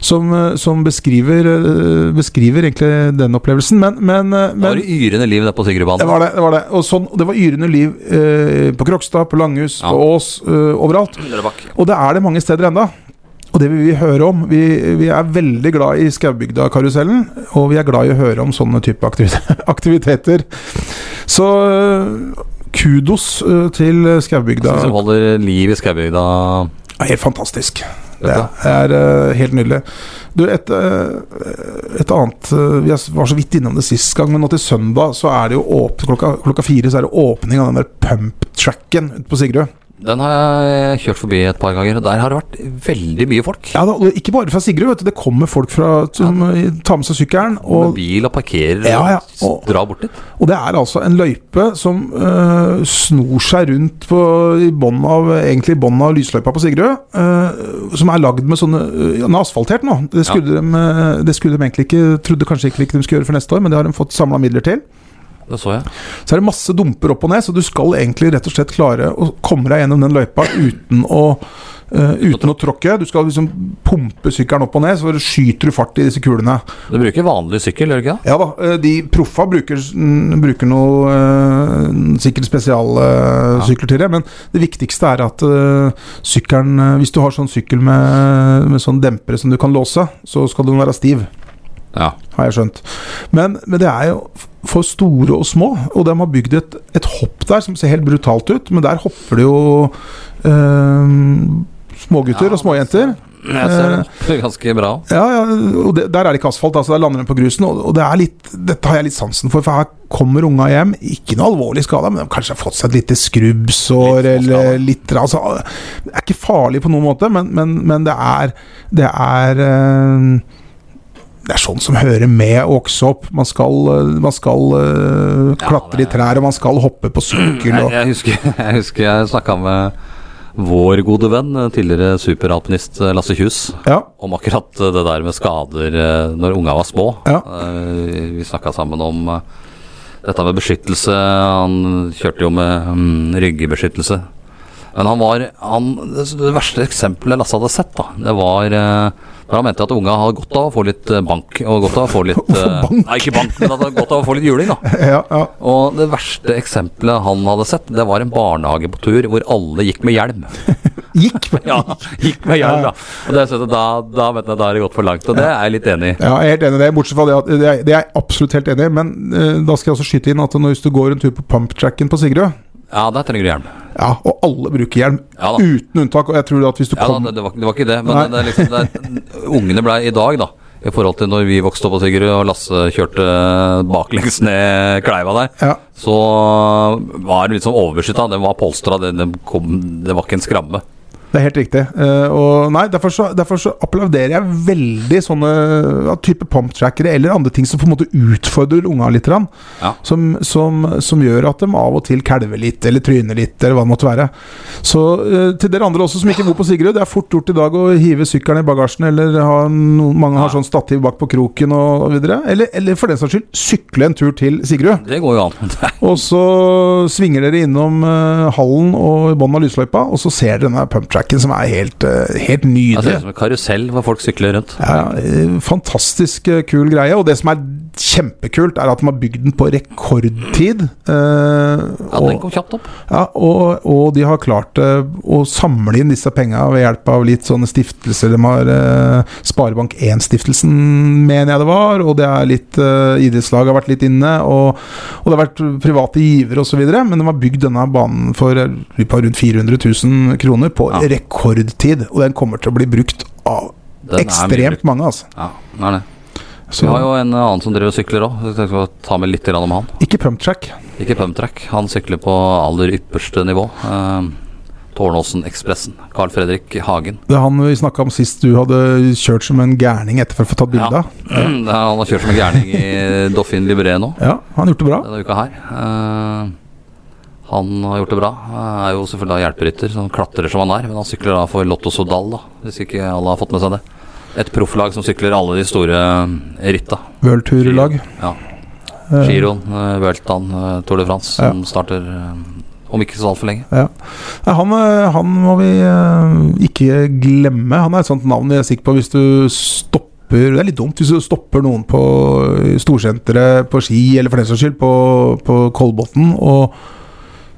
S3: som, eh, som beskriver, eh, beskriver egentlig den opplevelsen. Men, men, eh,
S2: Det var
S3: men
S2: det yrende liv der på Sigrudbanen.
S3: Det var det. det var det Og sånn, det var yrende liv eh, på Krokstad, på Langhus,
S2: Ja.
S3: på Ås, eh, overalt.
S2: Dere bak.
S3: Og det er det mange steder enda Og det vil vi høre om. Vi, vi er veldig glad i Skaubygda-karusellen, og vi er glad i å høre om sånne type aktivite- aktiviteter. Så eh, kudos eh, til
S2: Jeg synes
S3: Skaubygda.
S2: hun holder liv i Skaubygda
S3: Det er helt fantastisk. Det
S2: Dette.
S3: er eh, helt nydelig. Du, et, eh, et annet eh, Vi var så vidt innom det sist gang, men nå til søndag så er det jo åp klokka, klokka fire så er det åpning av den der pump-tracken ute på Sigrud.
S2: Den har jeg kjørt forbi et par ganger. og Der har det vært veldig mye folk.
S3: Ja, da, og ikke bare fra Sigrud, vet du. Det kommer folk fra, som eh, tar med seg sykkelen.
S2: Med
S3: Og,
S2: bil og parkerer
S3: Ja, ja,
S2: og
S3: og-
S2: drar bort dit.
S3: og det er altså en løype som eh, snor seg rundt på, i bånn av, egentlig i bånn av lysløypa på Sigrud. eh, som er lagd med sånne eh, Den er asfaltert nå. Det skulle, de, eh, det skulle de egentlig ikke trodde kanskje ikke de skulle gjøre for neste år, men det har de fått samla midler til.
S2: Det så jeg.
S3: Så er det masse dumper opp og ned, så du skal egentlig rett og slett klare å komme deg gjennom den løypa uten å eh, uten å tråkke. Du skal liksom pumpe sykkelen opp og ned, så skyter du fart i disse kulene.
S2: Du bruker vanlig sykkel, gjør du ikke det?
S3: Ja da, eh, de proffa bruker, mm, bruker noe eh, sikkert spesialsykler til det, men det viktigste er at eh, sykkelen eh, Hvis du har sånn sykkel med, med sånn dempere som du kan låse, så skal den være stiv
S2: Ja.
S3: har jeg skjønt. Men, men det er jo f- for store og små, og de har bygd et, et hopp der som ser helt brutalt ut, men der hopper det jo øhm, smågutter
S2: Ja,
S3: og småjenter.
S2: Jeg ser det. Eh, det er ganske bra.
S3: Ja, ja, og det, der er det ikke asfalt, altså der lander de på grusen, og, og det er litt, dette har jeg litt sansen for, for her kommer unga hjem, ikke noe alvorlig skada, men de kanskje har fått seg et lite skrubbsår
S2: Litt småskada.
S3: eller litt altså, Det er ikke farlig på noen måte, men, men, men det er Det er øhm, det er sånn som hører med å vokse opp. Man skal, øh, man skal øh,
S2: Ja,
S3: klatre
S2: det-
S3: i trær, og man skal hoppe på sykkel.
S2: Jeg,
S3: Og,
S2: jeg husker jeg, husker jeg snakka med vår gode venn, eh, tidligere superalpinist eh, Lasse Kjus,
S3: ja,
S2: om akkurat eh, det der med skader eh, når unga var små.
S3: Ja.
S2: Eh, Vi snakka sammen om eh, dette med beskyttelse. Han kjørte jo med mm, ryggebeskyttelse. Men han var han, Det verste eksempelet Lasse hadde sett, da, det var eh, når han mente at unga hadde godt av å få litt eh, bank. Og godt av å få litt eh,
S3: Bank?
S2: Nei, ikke bank, men at de hadde godt av å få litt juling, da.
S3: ja, ja.
S2: Og det verste eksempelet han hadde sett, det var en barnehage på tur hvor alle gikk med hjelm.
S3: Gikk!
S2: Ja, gikk med hjelm, da. Og det, er sånn at da, da, vet jeg, da er det gått for langt, og det er jeg litt enig i.
S3: Ja, jeg er helt enig i det, bortsett fra det at det er, det er jeg absolutt helt enig i. Men eh, da skal jeg også skyte inn at når hvis du går en tur på pumptracken på Sigrud,
S2: Ja, der trenger du hjelm.
S3: ja, og alle bruker hjelm,
S2: Ja da.
S3: uten unntak, og jeg tror at hvis du
S2: Ja, da,
S3: kom
S2: det, det, var, det var ikke det, men
S3: Nei.
S2: det, det er liksom det er, Ungene ble i dag, da. I forhold til når vi vokste opp på Sigrud og Lasse kjørte baklengs ned kleiva der,
S3: ja,
S2: så var det litt sånn overbeskytta. Den var polstra, det, det, kom, det var ikke en skramme.
S3: det er helt riktig. Eh, og nei, derfor så, derfor så applauderer jeg veldig sånne ja, type pumptrackere eller andre ting som på en måte utfordrer unga litt. grann.
S2: Ja.
S3: Som, som, som gjør at de av og til kalver litt, eller tryner litt, eller hva det måtte være. Så eh, til dere andre også som ikke bor på Sigrud, det er fort gjort i dag å hive sykkelen i bagasjen, eller ha noen, mange har sånn stativ bak på kroken og, og videre. Eller, eller for den saks skyld, sykle en tur til Sigrud.
S2: Det går jo an.
S3: Og så svinger dere innom eh, hallen og i bunnen av lysløypa, og så ser dere denne pumptracken som er helt, eh, helt
S2: Altså, Det ser
S3: nydelig.
S2: ut som en karusell hvor folk sykler rundt.
S3: Ja, ja, eh, fantastisk eh, kul greie. Og det som er kjempekult, er at de har bygd den på rekordtid.
S2: Ja,
S3: eh,
S2: den
S3: og,
S2: kom kjapt opp.
S3: ja, og, og de har klart eh, å samle inn disse penga ved hjelp av litt sånne stiftelser. De har eh, Sparebank1-stiftelsen, mener jeg det var, og det er litt eh, idrettslag har vært litt inne, og, og det har vært private givere osv., men de har bygd denne banen for eh, vi på rundt 400 000 kroner på
S2: Ja.
S3: rekordtid, og den kommer til å bli brukt av
S2: Den er mye
S3: ekstremt mange, altså.
S2: brukt. Ja, den er det. Vi
S3: Så
S2: har jo en annen som driver og sykler òg. Jeg tenkte å ta med litt grann om han.
S3: ikke pumptrack.
S2: Ikke pumptrack, han sykler på aller ypperste nivå. Eh, Tårnåsen-ekspressen. Carl Fredrik Hagen.
S3: Det er han vi snakka om sist du hadde kjørt som en gærning etter for å få tatt bilde av.
S2: Det er- Han har kjørt som en gærning i Doffin Libre nå,
S3: Ja. han gjorde det bra.
S2: denne uka her. Eh, han har gjort det bra. Han Er jo selvfølgelig da hjelperytter, så han klatrer som han er. Men han sykler da for Lotto Sodal, da, hvis ikke alle har fått med seg det. Et profflag som sykler alle de store eh, ritta.
S3: Worldturlag.
S2: Ja.
S3: Eh,
S2: Giroen, uh, Vueltaen, eh, Tour de France, som starter eh, om ikke så altfor lenge.
S3: Nei, han, eh, han må vi eh, ikke glemme. Han er et sånt navn jeg er sikker på hvis du stopper Det er litt dumt hvis du stopper noen på eh, storsenteret på ski, eller for den saks skyld på, på Kolbotn, og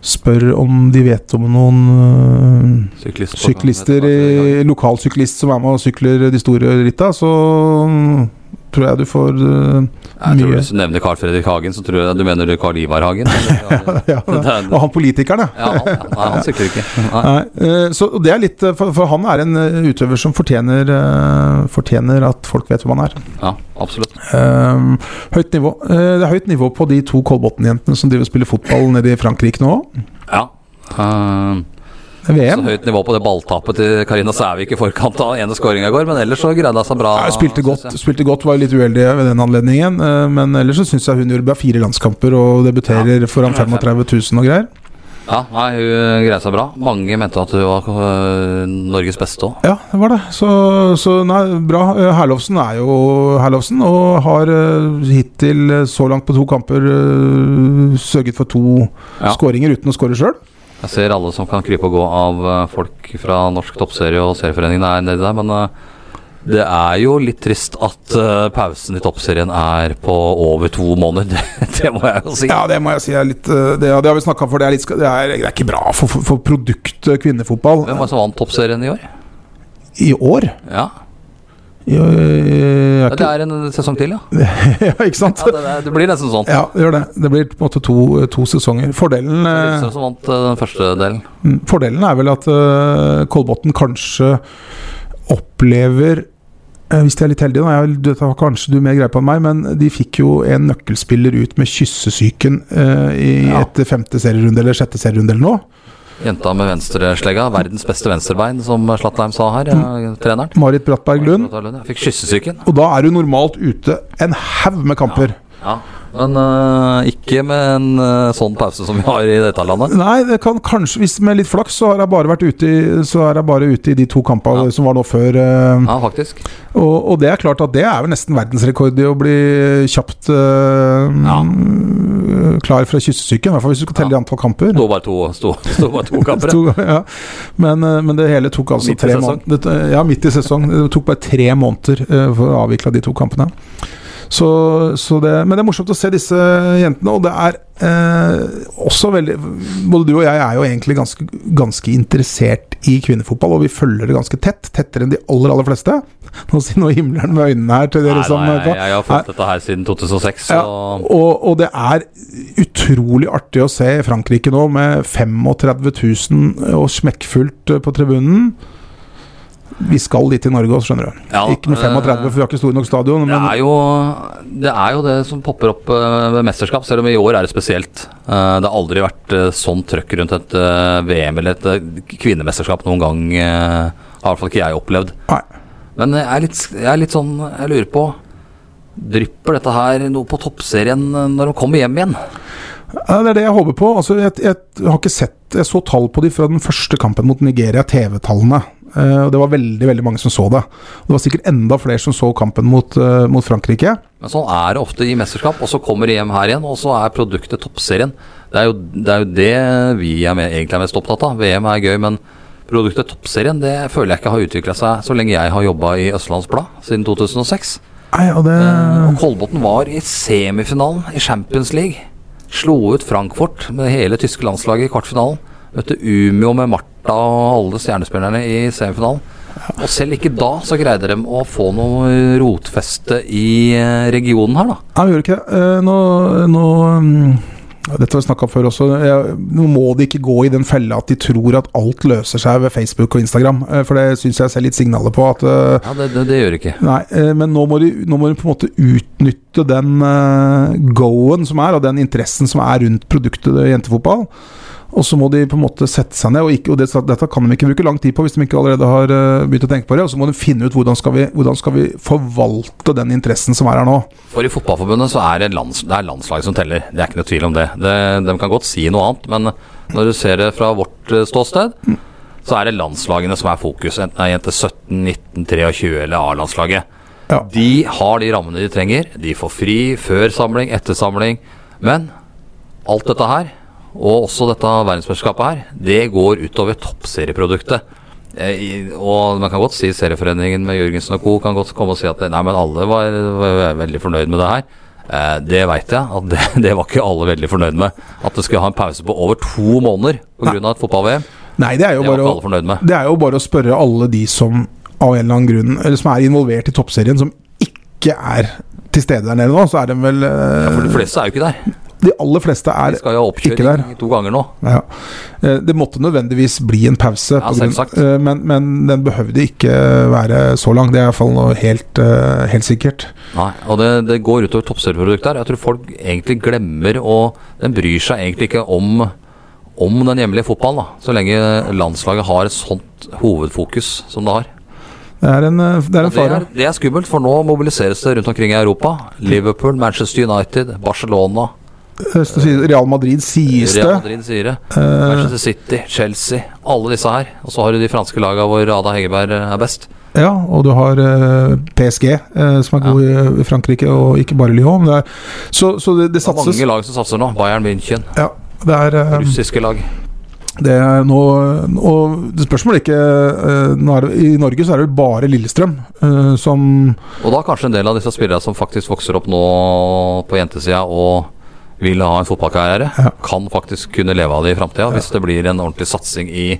S3: spør om de vet om noen eh,
S2: Syklist på-
S3: syklister, i- lokalsyklist som er med og sykler de store ritta, så mm, tror jeg du får eh,
S2: Jeg tror
S3: Mye.
S2: du nevner Carl Fredrik Hagen, så tror jeg du mener Carl Ivar Hagen.
S3: ja,
S2: Det er-
S3: Og han politikeren, ja.
S2: Ja, han, nei, han sikrer ikke. Nei.
S3: Nei, eh, så det er litt eh, For, for han er en eh, utøver som fortjener, eh, fortjener at folk vet hvem han er.
S2: Ja, absolutt.
S3: Ehm, høyt nivå. Eh, det er høyt nivå på de to Kolbotn-jentene som driver og spiller fotball nede i Frankrike nå.
S2: Ja. Eh,
S3: Det er
S2: så
S3: VM.
S2: høyt nivå på det balltapet til Karina Sævik i forkant av ene skåringa i går, men ellers så greide hun seg bra.
S3: Ja, spilte godt,
S2: synes jeg.
S3: spilte godt, var litt uheldig ved den anledningen. eh, Men ellers så syns jeg hun gjorde bra fire landskamper og debuterer foran 35 000 og greier.
S2: Ja, nei, hun greide seg bra. Mange mente at hun var eh, Norges beste òg.
S3: Ja, det var det. Så, så nei, bra. Eh, Herlovsen er jo Herlovsen, og har eh, hittil eh, så langt på to kamper eh, sørget for to
S2: Ja.
S3: skåringer uten å skåre sjøl.
S2: Jeg ser alle som kan krype og gå av eh, folk fra norsk toppserie og serieforeningen er nedi der, men eh, det er jo litt trist at eh, pausen i toppserien er på over to måneder. Det, det må jeg jo si.
S3: Ja, det må jeg si er litt eh, Det, det har vi snakka om, for det er, litt, det, er, det er ikke bra for, for, for produktet kvinnefotball
S2: Hvem var det som vant toppserien i år?
S3: i år.
S2: Ja,
S3: I, eh, er
S2: Det er en sesong til, ja.
S3: ikke, ja, ikke sant?
S2: ja det, er- det blir nesten sånn.
S3: Ja, det gjør det. Det blir på en måte to, eh, to sesonger. Fordelen, eh,
S2: Lillestrøm som vant eh, den første delen.
S3: mm, fordelen er vel at eh, Kolbotn kanskje opplever eh, Hvis de er litt heldige, da. Jeg, dette har kanskje du mer greie på enn meg, men de fikk jo en nøkkelspiller ut med kyssesyken eh, i,
S2: Ja.
S3: etter femte serierunde eller sjette serierunde eller noe.
S2: Jenta med venstreslegga, verdens beste venstrebein, som Slattheim sa her, eh, treneren.
S3: Marit Brattberg Mm. Lund.
S2: Jeg fikk kyssesyken.
S3: Og da er du normalt ute en haug med kamper.
S2: Ja. Men eh, ikke med en eh, sånn pause som vi har i dette landet.
S3: Nei, det kan kanskje Hvis med litt flaks, så har jeg bare vært ute i, så er jeg bare ute i de to kampene
S2: Ja.
S3: som var nå før. eh,
S2: Ja, faktisk.
S3: Og, og det er klart at det er vel nesten verdensrekord i å bli kjapt eh,
S2: Ja.
S3: klar fra kyssesyken. I hvert fall hvis du skal telle i antall kamper.
S2: Sto bare to, sto, sto bare to kamper.
S3: To, ja. men, eh, men det hele tok altså
S2: Midt i
S3: tre
S2: sesong.
S3: måneder. Det- Ja, midt i sesong. Det tok bare tre måneder eh, for å avvikle de to kampene. Så, så det, men det er morsomt å se disse jentene, og det er eh, også veldig Både du og jeg er jo egentlig ganske, ganske interessert i kvinnefotball, og vi følger det ganske tett. Tettere enn de aller, aller fleste. Nå sier nå himleren med øynene her til
S2: Nei,
S3: dere som
S2: nei, jeg, jeg har
S3: Nei.
S2: fulgt dette her siden 2006,
S3: Ja,
S2: så
S3: og, og det er utrolig artig å se Frankrike nå, med 35 000 og smekkfullt eh, på tribunen. Vi skal dit i Norge også, skjønner du.
S2: Ja, eh,
S3: ikke med 35, for vi har ikke store nok stadion.
S2: det
S3: Men
S2: er, jo, det er jo det som popper opp eh, ved mesterskap, selv om i år er det spesielt. Eh, Det har aldri vært eh, sånn trøkk rundt et eh, VM eller et eh, kvinnemesterskap noen gang. eh, Har i hvert fall ikke jeg opplevd.
S3: Nei.
S2: Men jeg er, litt, jeg er litt sånn Jeg lurer på Drypper dette her noe på toppserien eh, når de kommer hjem igjen?
S3: Ja, det er det jeg håper på. Altså, jeg, jeg har ikke sett Jeg så tall på de fra den første kampen mot Nigeria, TV-tallene. Eh, og Det var veldig veldig mange som så det. Og det var sikkert enda flere som så kampen mot, eh, mot Frankrike.
S2: Men sånn er det ofte i mesterskap, og så kommer de hjem her igjen, og så er produktet toppserien. Det er jo det, er jo det vi er med, egentlig er mest opptatt av. VM er gøy, men produktet toppserien det føler jeg ikke har utvikla seg så lenge jeg har jobba i Østlands Blad, siden 2006.
S3: Nei, og det
S2: Og Kolbotn var i semifinalen i Champions League. Slo ut Frankfurt med hele tyske landslaget i kvartfinalen. Møtte Umeå med Martha og alle stjernespillerne i semifinalen. Og selv ikke da så greide de å få noe rotfeste i eh, regionen her, da.
S3: Nei, vi gjør ikke det. Eh, Nå, nå mm, ja, Dette har vi snakka om før også. Jeg, nå må de ikke gå i den fella at de tror at alt løser seg ved Facebook og Instagram. eh, For det syns jeg ser litt signaler på at eh,
S2: Ja, det, det, det gjør det ikke.
S3: Nei, eh, men nå må, de, nå må de på en måte utnytte den eh, go-en som er, og den interessen som er rundt produktet eh, jentefotball. Og så må de på en måte sette seg ned, og, ikke, og det, dette kan de ikke bruke lang tid på hvis de ikke allerede har eh, begynt å tenke på det. Og så må de finne ut hvordan skal vi, hvordan skal vi forvalte den interessen som er her nå.
S2: For i Fotballforbundet så er det, lands, det er landslaget som teller. Det er ikke noe tvil om det. det. De kan godt si noe annet, men når du ser det fra vårt eh, ståsted, så er det landslagene som er fokus. Enten det er jente 17, 19, 23 eller A-landslaget.
S3: Ja.
S2: De har de rammene de trenger. De får fri før samling, etter samling. Men alt dette her, og også dette verdensmesterskapet her, det går utover toppserieproduktet. Eh, i- Og man kan godt si Serieforeningen med Jørgensen og co. kan godt komme og si at nei, men alle var, var veldig fornøyd med det her. Eh, Det veit jeg at det, det var ikke alle veldig fornøyd med. At det skulle ha en pause på over to måneder pga. et fotball-VM.
S3: Nei, det er jo
S2: Det var
S3: bare
S2: ikke
S3: å
S2: alle fornøyd med.
S3: Det er jo bare å spørre alle de som av en eller annen grunn Eller som er involvert i toppserien, som ikke ikke er til stede der nede nå, så er de vel eh,
S2: For de fleste er jo ikke der.
S3: De aller fleste er
S2: De skal jo ha
S3: ikke der.
S2: oppkjøring to ganger nå.
S3: ja. Eh, Det måtte nødvendigvis bli en pause,
S2: Ja,
S3: på grunn-
S2: selvsagt.
S3: eh, men, men den behøvde ikke være så lang. Det er i hvert fall noe helt, eh, helt sikkert.
S2: Nei, og det, det går utover toppserverproduktet her. Jeg tror folk egentlig glemmer og Den bryr seg egentlig ikke om, om den hjemlige fotballen, da. Så lenge landslaget har et sånt hovedfokus som det har.
S3: Det er en, eh, det er en
S2: Det
S3: fare.
S2: er, det er skummelt, for nå mobiliseres det rundt omkring i Europa. Liverpool, Manchester United, Barcelona,
S3: Eh, så sier Real Madrid sies
S2: Real
S3: det. Eh.
S2: Madrid sier det. Manchester City, Chelsea, alle disse her. Og så har du de franske lagene hvor Ada Hegerberg er best.
S3: Ja, og du har eh, PSG, eh, som er god i- i Frankrike, og ikke bare Lyon. men Det er, så, så det, det
S2: Det er
S3: satses.
S2: mange lag som satser nå. Bayern München,
S3: Ja, det er eh,
S2: russiske lag.
S3: Det er nå, og det spørsmålet er ikke eh, nå er det, I Norge så er det vel bare Lillestrøm eh, som
S2: Og da kanskje en del av disse spillerne som faktisk vokser opp nå på jentesida og vil ha en fotballkarriere,
S3: Ja.
S2: kan faktisk kunne leve av det i framtida hvis det blir en ordentlig satsing i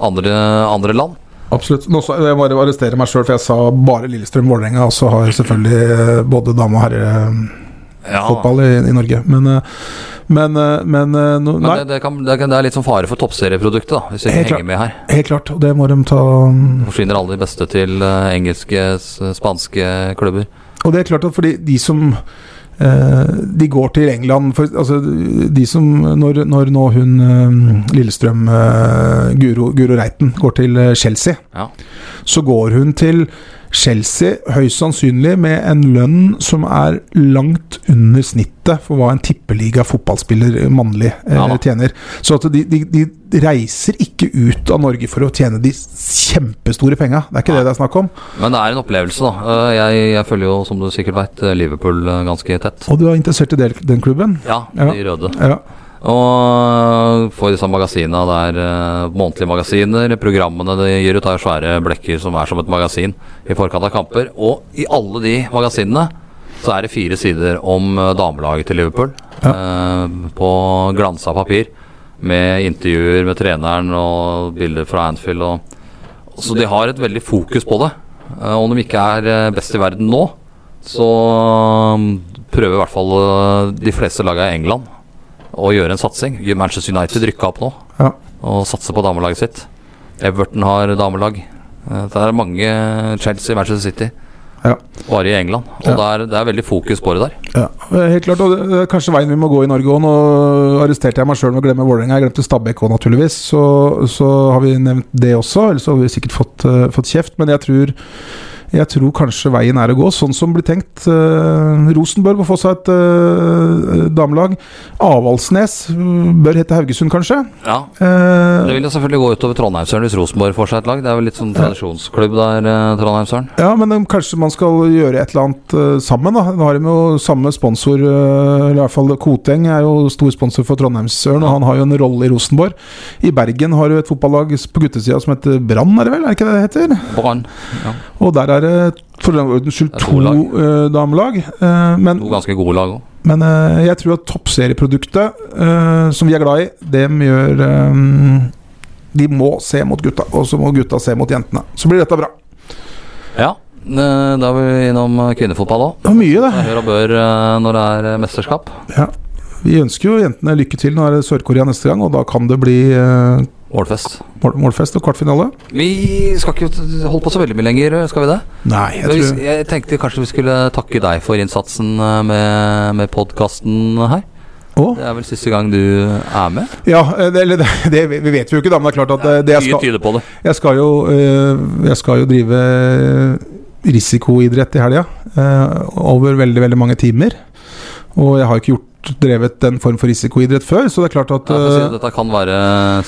S2: andre, andre land.
S3: Absolutt. Nå sa, jeg må bare arrestere meg sjøl, for jeg sa bare Lillestrøm-Vålerenga, og så har selvfølgelig eh, både dame- og herrefotball Ah.
S2: Ja,
S3: i, i Norge. Men, eh, men, eh, men, eh, no,
S2: Men
S3: Nei,
S2: det, det, kan, det, kan, det er litt sånn fare for toppserieproduktet, da, hvis vi
S3: Helt
S2: ikke
S3: klart.
S2: henger med her.
S3: helt klart. Og det må de ta mm,
S2: Da Forsvinner alle de beste til eh, engelske, s- spanske klubber.
S3: Og det er klart at fordi de som eh, de går til England for, altså, de som, når, når nå hun eh, Lillestrøm, eh, Guro, Guro Reiten, går til eh, Chelsea,
S2: Ja.
S3: så går hun til Chelsea høyst sannsynlig med en lønn som er langt under snittet for hva en tippeliga fotballspiller eh, mannlig eh,
S2: Ja da.
S3: tjener. Så at de, de, de reiser ikke ut av Norge for å tjene de kjempestore penga. Det er ikke det det er snakk om.
S2: Men det er en opplevelse, da. Eh, Jeg, jeg følger jo, som du sikkert veit, Liverpool eh, ganske tett.
S3: Og du er interessert i del, den klubben?
S2: Ja,
S3: Ja.
S2: de røde.
S3: Ja.
S2: Og får disse magasinene der, eh, månedlige magasiner, programmene de gir ut, har svære blekker som er som et magasin i forkant av kamper. Og i alle de magasinene så er det fire sider om eh, damelaget til Liverpool. Eh, på glansa papir, med intervjuer med treneren og bilder fra Anfield. Og, så de har et veldig fokus på det. Eh, om de ikke er eh, best i verden nå, så eh, prøver i hvert fall eh, de fleste lagene i England og gjøre en satsing. Gjør Manchester United rykke opp nå
S3: Ja.
S2: og satse på damelaget sitt. Everton har damelag. Eh, Det er mange Chelsea, Manchester City,
S3: Ja.
S2: bare i England. Og
S3: Ja.
S2: det, er, det er veldig fokus på det der.
S3: Ja, helt klart. Og det det er kanskje veien vi må gå i Norge òg. Nå arresterte jeg meg sjøl med å glemme Vålerenga. Jeg glemte Stabæk òg, naturligvis. Så, så har vi nevnt det også. Ellers hadde vi sikkert fått, eh, fått kjeft. Men jeg tror, jeg tror kanskje veien er å gå sånn som blir tenkt. Eh, Rosenborg må få seg et eh, damelag. Avaldsnes mm, bør hete Haugesund, kanskje.
S2: Ja,
S3: Eh,
S2: Det vil jo selvfølgelig gå utover Trondheimsøren hvis Rosenborg får seg et lag. Det er vel litt sånn tradisjonsklubb der, eh, Trondheimsøren.
S3: Ja, men um, kanskje man skal gjøre et eller annet eh, sammen, da. Nå har de jo samme sponsor, eh, eller i hvert fall Koteng er jo stor sponsor for Trondheimsøren, og han har jo en rolle i Rosenborg. I Bergen har du et fotballag s- på guttesida som heter Brann, er det vel? Er det ikke det det heter?
S2: Brann.
S3: Og der er det for den ordens skyld
S2: Det er to
S3: to eh, damelag. eh, men
S2: To ganske gode lag òg.
S3: men eh, jeg tror at toppserieproduktet, eh, som vi er glad i, dem gjør eh, De må se mot gutta, og så må gutta se mot jentene. Så blir dette bra.
S2: Ja. eh, Da er vi innom eh, kvinnefotball òg.
S3: Det var mye, det.
S2: Hør og bør eh, når det er eh, mesterskap.
S3: Vi ønsker jo jentene lykke til. Nå er det Sør-Korea neste gang, og da kan det bli eh,
S2: Målfest.
S3: mål- målfest og kvartfinale.
S2: Vi skal ikke holde på så veldig mye lenger, eh, skal vi det?
S3: Nei, jeg
S2: Jeg,
S3: tror
S2: jeg tenkte kanskje vi skulle takke deg for innsatsen eh, med, med podkasten her.
S3: Å?
S2: Det er vel siste gang du er med?
S3: Ja, eh, det, eller det, det vi vet vi jo ikke, da, men det er klart at eh, det jeg skal,
S2: tyder på det.
S3: jeg skal jo eh, Jeg skal jo drive eh, risikoidrett i helga. eh, Over veldig, veldig mange timer. Og jeg har ikke gjort drevet den form for risikoidrett før, så det er klart at
S2: Ja, for å si
S3: eh,
S2: det, dette kan være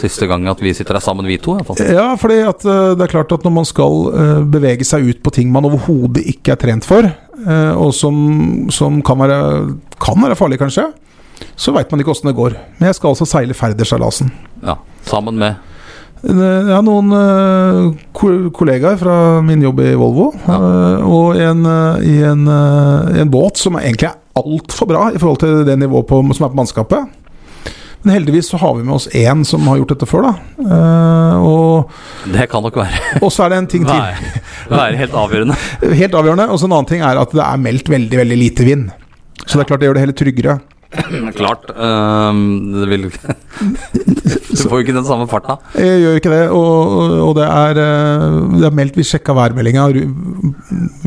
S2: siste gang at vi sitter her sammen, vi to. i hvert fall.
S3: Ja, fordi at eh, det er klart at når man skal eh, bevege seg ut på ting man overhodet ikke er trent for, eh, og som, som kan, være, kan være farlig kanskje, så veit man ikke åssen det går. Men jeg skal altså seile ferderseilasen.
S2: Ja, sammen med
S3: Eh, Jeg har noen eh, ko- kollegaer fra min jobb i Volvo,
S2: Ja.
S3: eh, og en, eh, i en, eh, en båt som er egentlig er altfor bra i forhold til det nivået på, som er på mannskapet. Men heldigvis så har vi med oss én som har gjort dette før, da. Eh, og,
S2: Det kan nok være,
S3: og så er det en ting til.
S2: være, være helt avgjørende.
S3: Helt avgjørende. Og så en annen ting er at det er meldt veldig, veldig lite vind. Så det er klart det gjør det hele tryggere.
S2: Klart. ehm, det vil Du får jo ikke den samme farta.
S3: Jeg gjør ikke det, og, og det er, eh, det er meldt Vi sjekka værmeldinga. ru-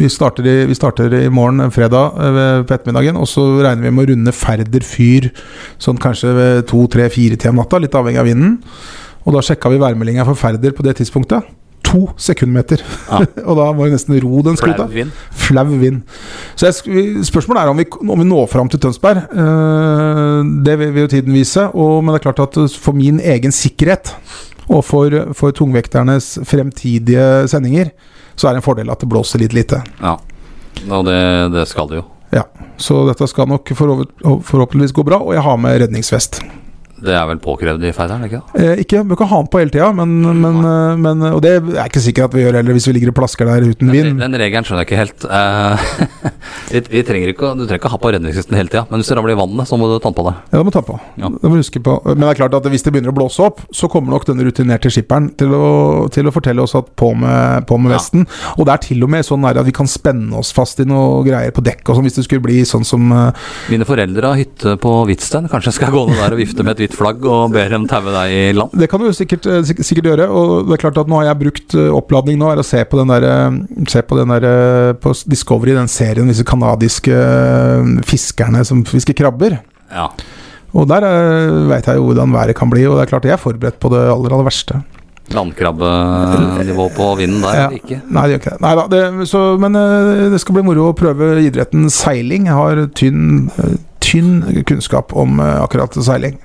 S3: Vi starter, i, vi starter i morgen, eh, fredag, eh, ved- på ettermiddagen. Og så regner vi med å runde Færder fyr sånn kanskje ved to, tre, fire til om natta. Litt avhengig av vinden. Og da sjekka vi værmeldinga for Færder på det tidspunktet. To sekundmeter!
S2: Ja.
S3: og da må vi nesten ro den skuta.
S2: Flau vind.
S3: Flau vind. Så jeg, sk- vi- spørsmålet er om vi, om vi når fram til Tønsberg. Eh, det vil, vil jo tiden vise. Og, men det er klart at eh, for min egen sikkerhet og for, for tungvekternes fremtidige sendinger, så er det en fordel at det blåser litt lite.
S2: Ja. Og det, det skal det jo.
S3: Så dette skal nok forhåp- forhåpentligvis gå bra. Og jeg har med redningsvest.
S2: Det er vel påkrevd i Feideren, ikke det?
S3: Eh, ikke, Bør ikke ha den på hele tida, men, men, eh, men Og det er ikke sikkert at vi gjør heller hvis vi ligger og plasker der
S2: Den,
S3: uten vind.
S2: den regelen skjønner jeg ikke helt. Eh, vi, vi trenger ikke, å- du trenger ikke ha på redningsvesten hele tida, men hvis du ramler i vannet, så må du ta den på deg.
S3: Ja, det må du ta på.
S2: Ja.
S3: Det må du huske på. Men det er klart at hvis det begynner å blåse opp, så kommer nok denne rutinerte skipperen til å, til å fortelle oss at på med, på med
S2: Ja.
S3: vesten. Og det er til og med sånn her at vi kan spenne oss fast i noe greier på dekk og sånn, hvis det skulle bli sånn som eh,
S2: Mine foreldre har hytte på Hvitsten. Kanskje jeg skal gå ned der og vifte med et hvitt flagg og be dem taue deg i land?
S3: Det kan du sikkert, eh, sik- sikkert gjøre, og det er klart at nå har jeg brukt eh, oppladning nå, er å se på den der, eh, se på den der eh, på s- Discovery, den serien, disse kanadiske eh, fiskerne som fisker krabber.
S2: Ja.
S3: Og der veit jeg jo hvordan været kan bli, og det er klart jeg er forberedt på det aller, aller verste.
S2: Landkrabbenivå på vinden der,
S3: Ja.
S2: eller ikke?
S3: Nei, det gjør ikke det. Neida, det så, men eh, det skal bli moro å prøve idretten seiling. Jeg har tynn, eh, tynn kunnskap om eh, akkurat seiling.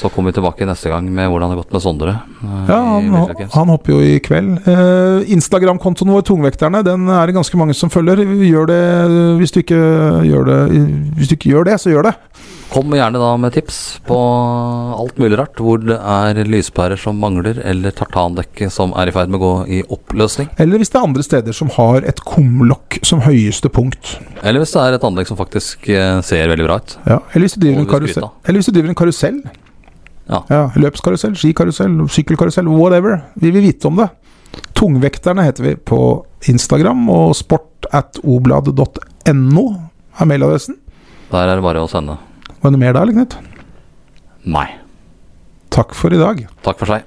S2: Så kommer vi tilbake neste gang med hvordan det har gått med Sondre. eh,
S3: Ja,
S2: i
S3: han,
S2: Windsor Games.
S3: han hopper jo i kveld. Eh, Instagram-kontoen vår, Tungvekterne, den er det ganske mange som følger. Gjør det, eh, hvis, du ikke gjør det hvis du ikke gjør det, så gjør det.
S2: Kom gjerne da med tips på alt mulig rart, hvor det er lyspærer som mangler, eller tartandekke som er i ferd med å gå i oppløsning.
S3: Eller hvis det er andre steder som har et kumlokk som høyeste punkt.
S2: Eller hvis det er et anlegg som faktisk eh, ser veldig bra ut.
S3: Ja. Eller, hvis du driver
S2: Må
S3: en
S2: vi skryte
S3: karusell,
S2: av.
S3: eller hvis du driver en karusell.
S2: Ja.
S3: løpskarusell, skikarusell, sykkelkarusell, whatever. Vi vil vite om det. Tungvekterne heter vi på Instagram, og sport at oblad.no er mailadressen.
S2: Der er det bare å sende.
S3: Var det noe mer da, eller Knut?
S2: Nei.
S3: Takk for i dag.
S2: Takk for seg.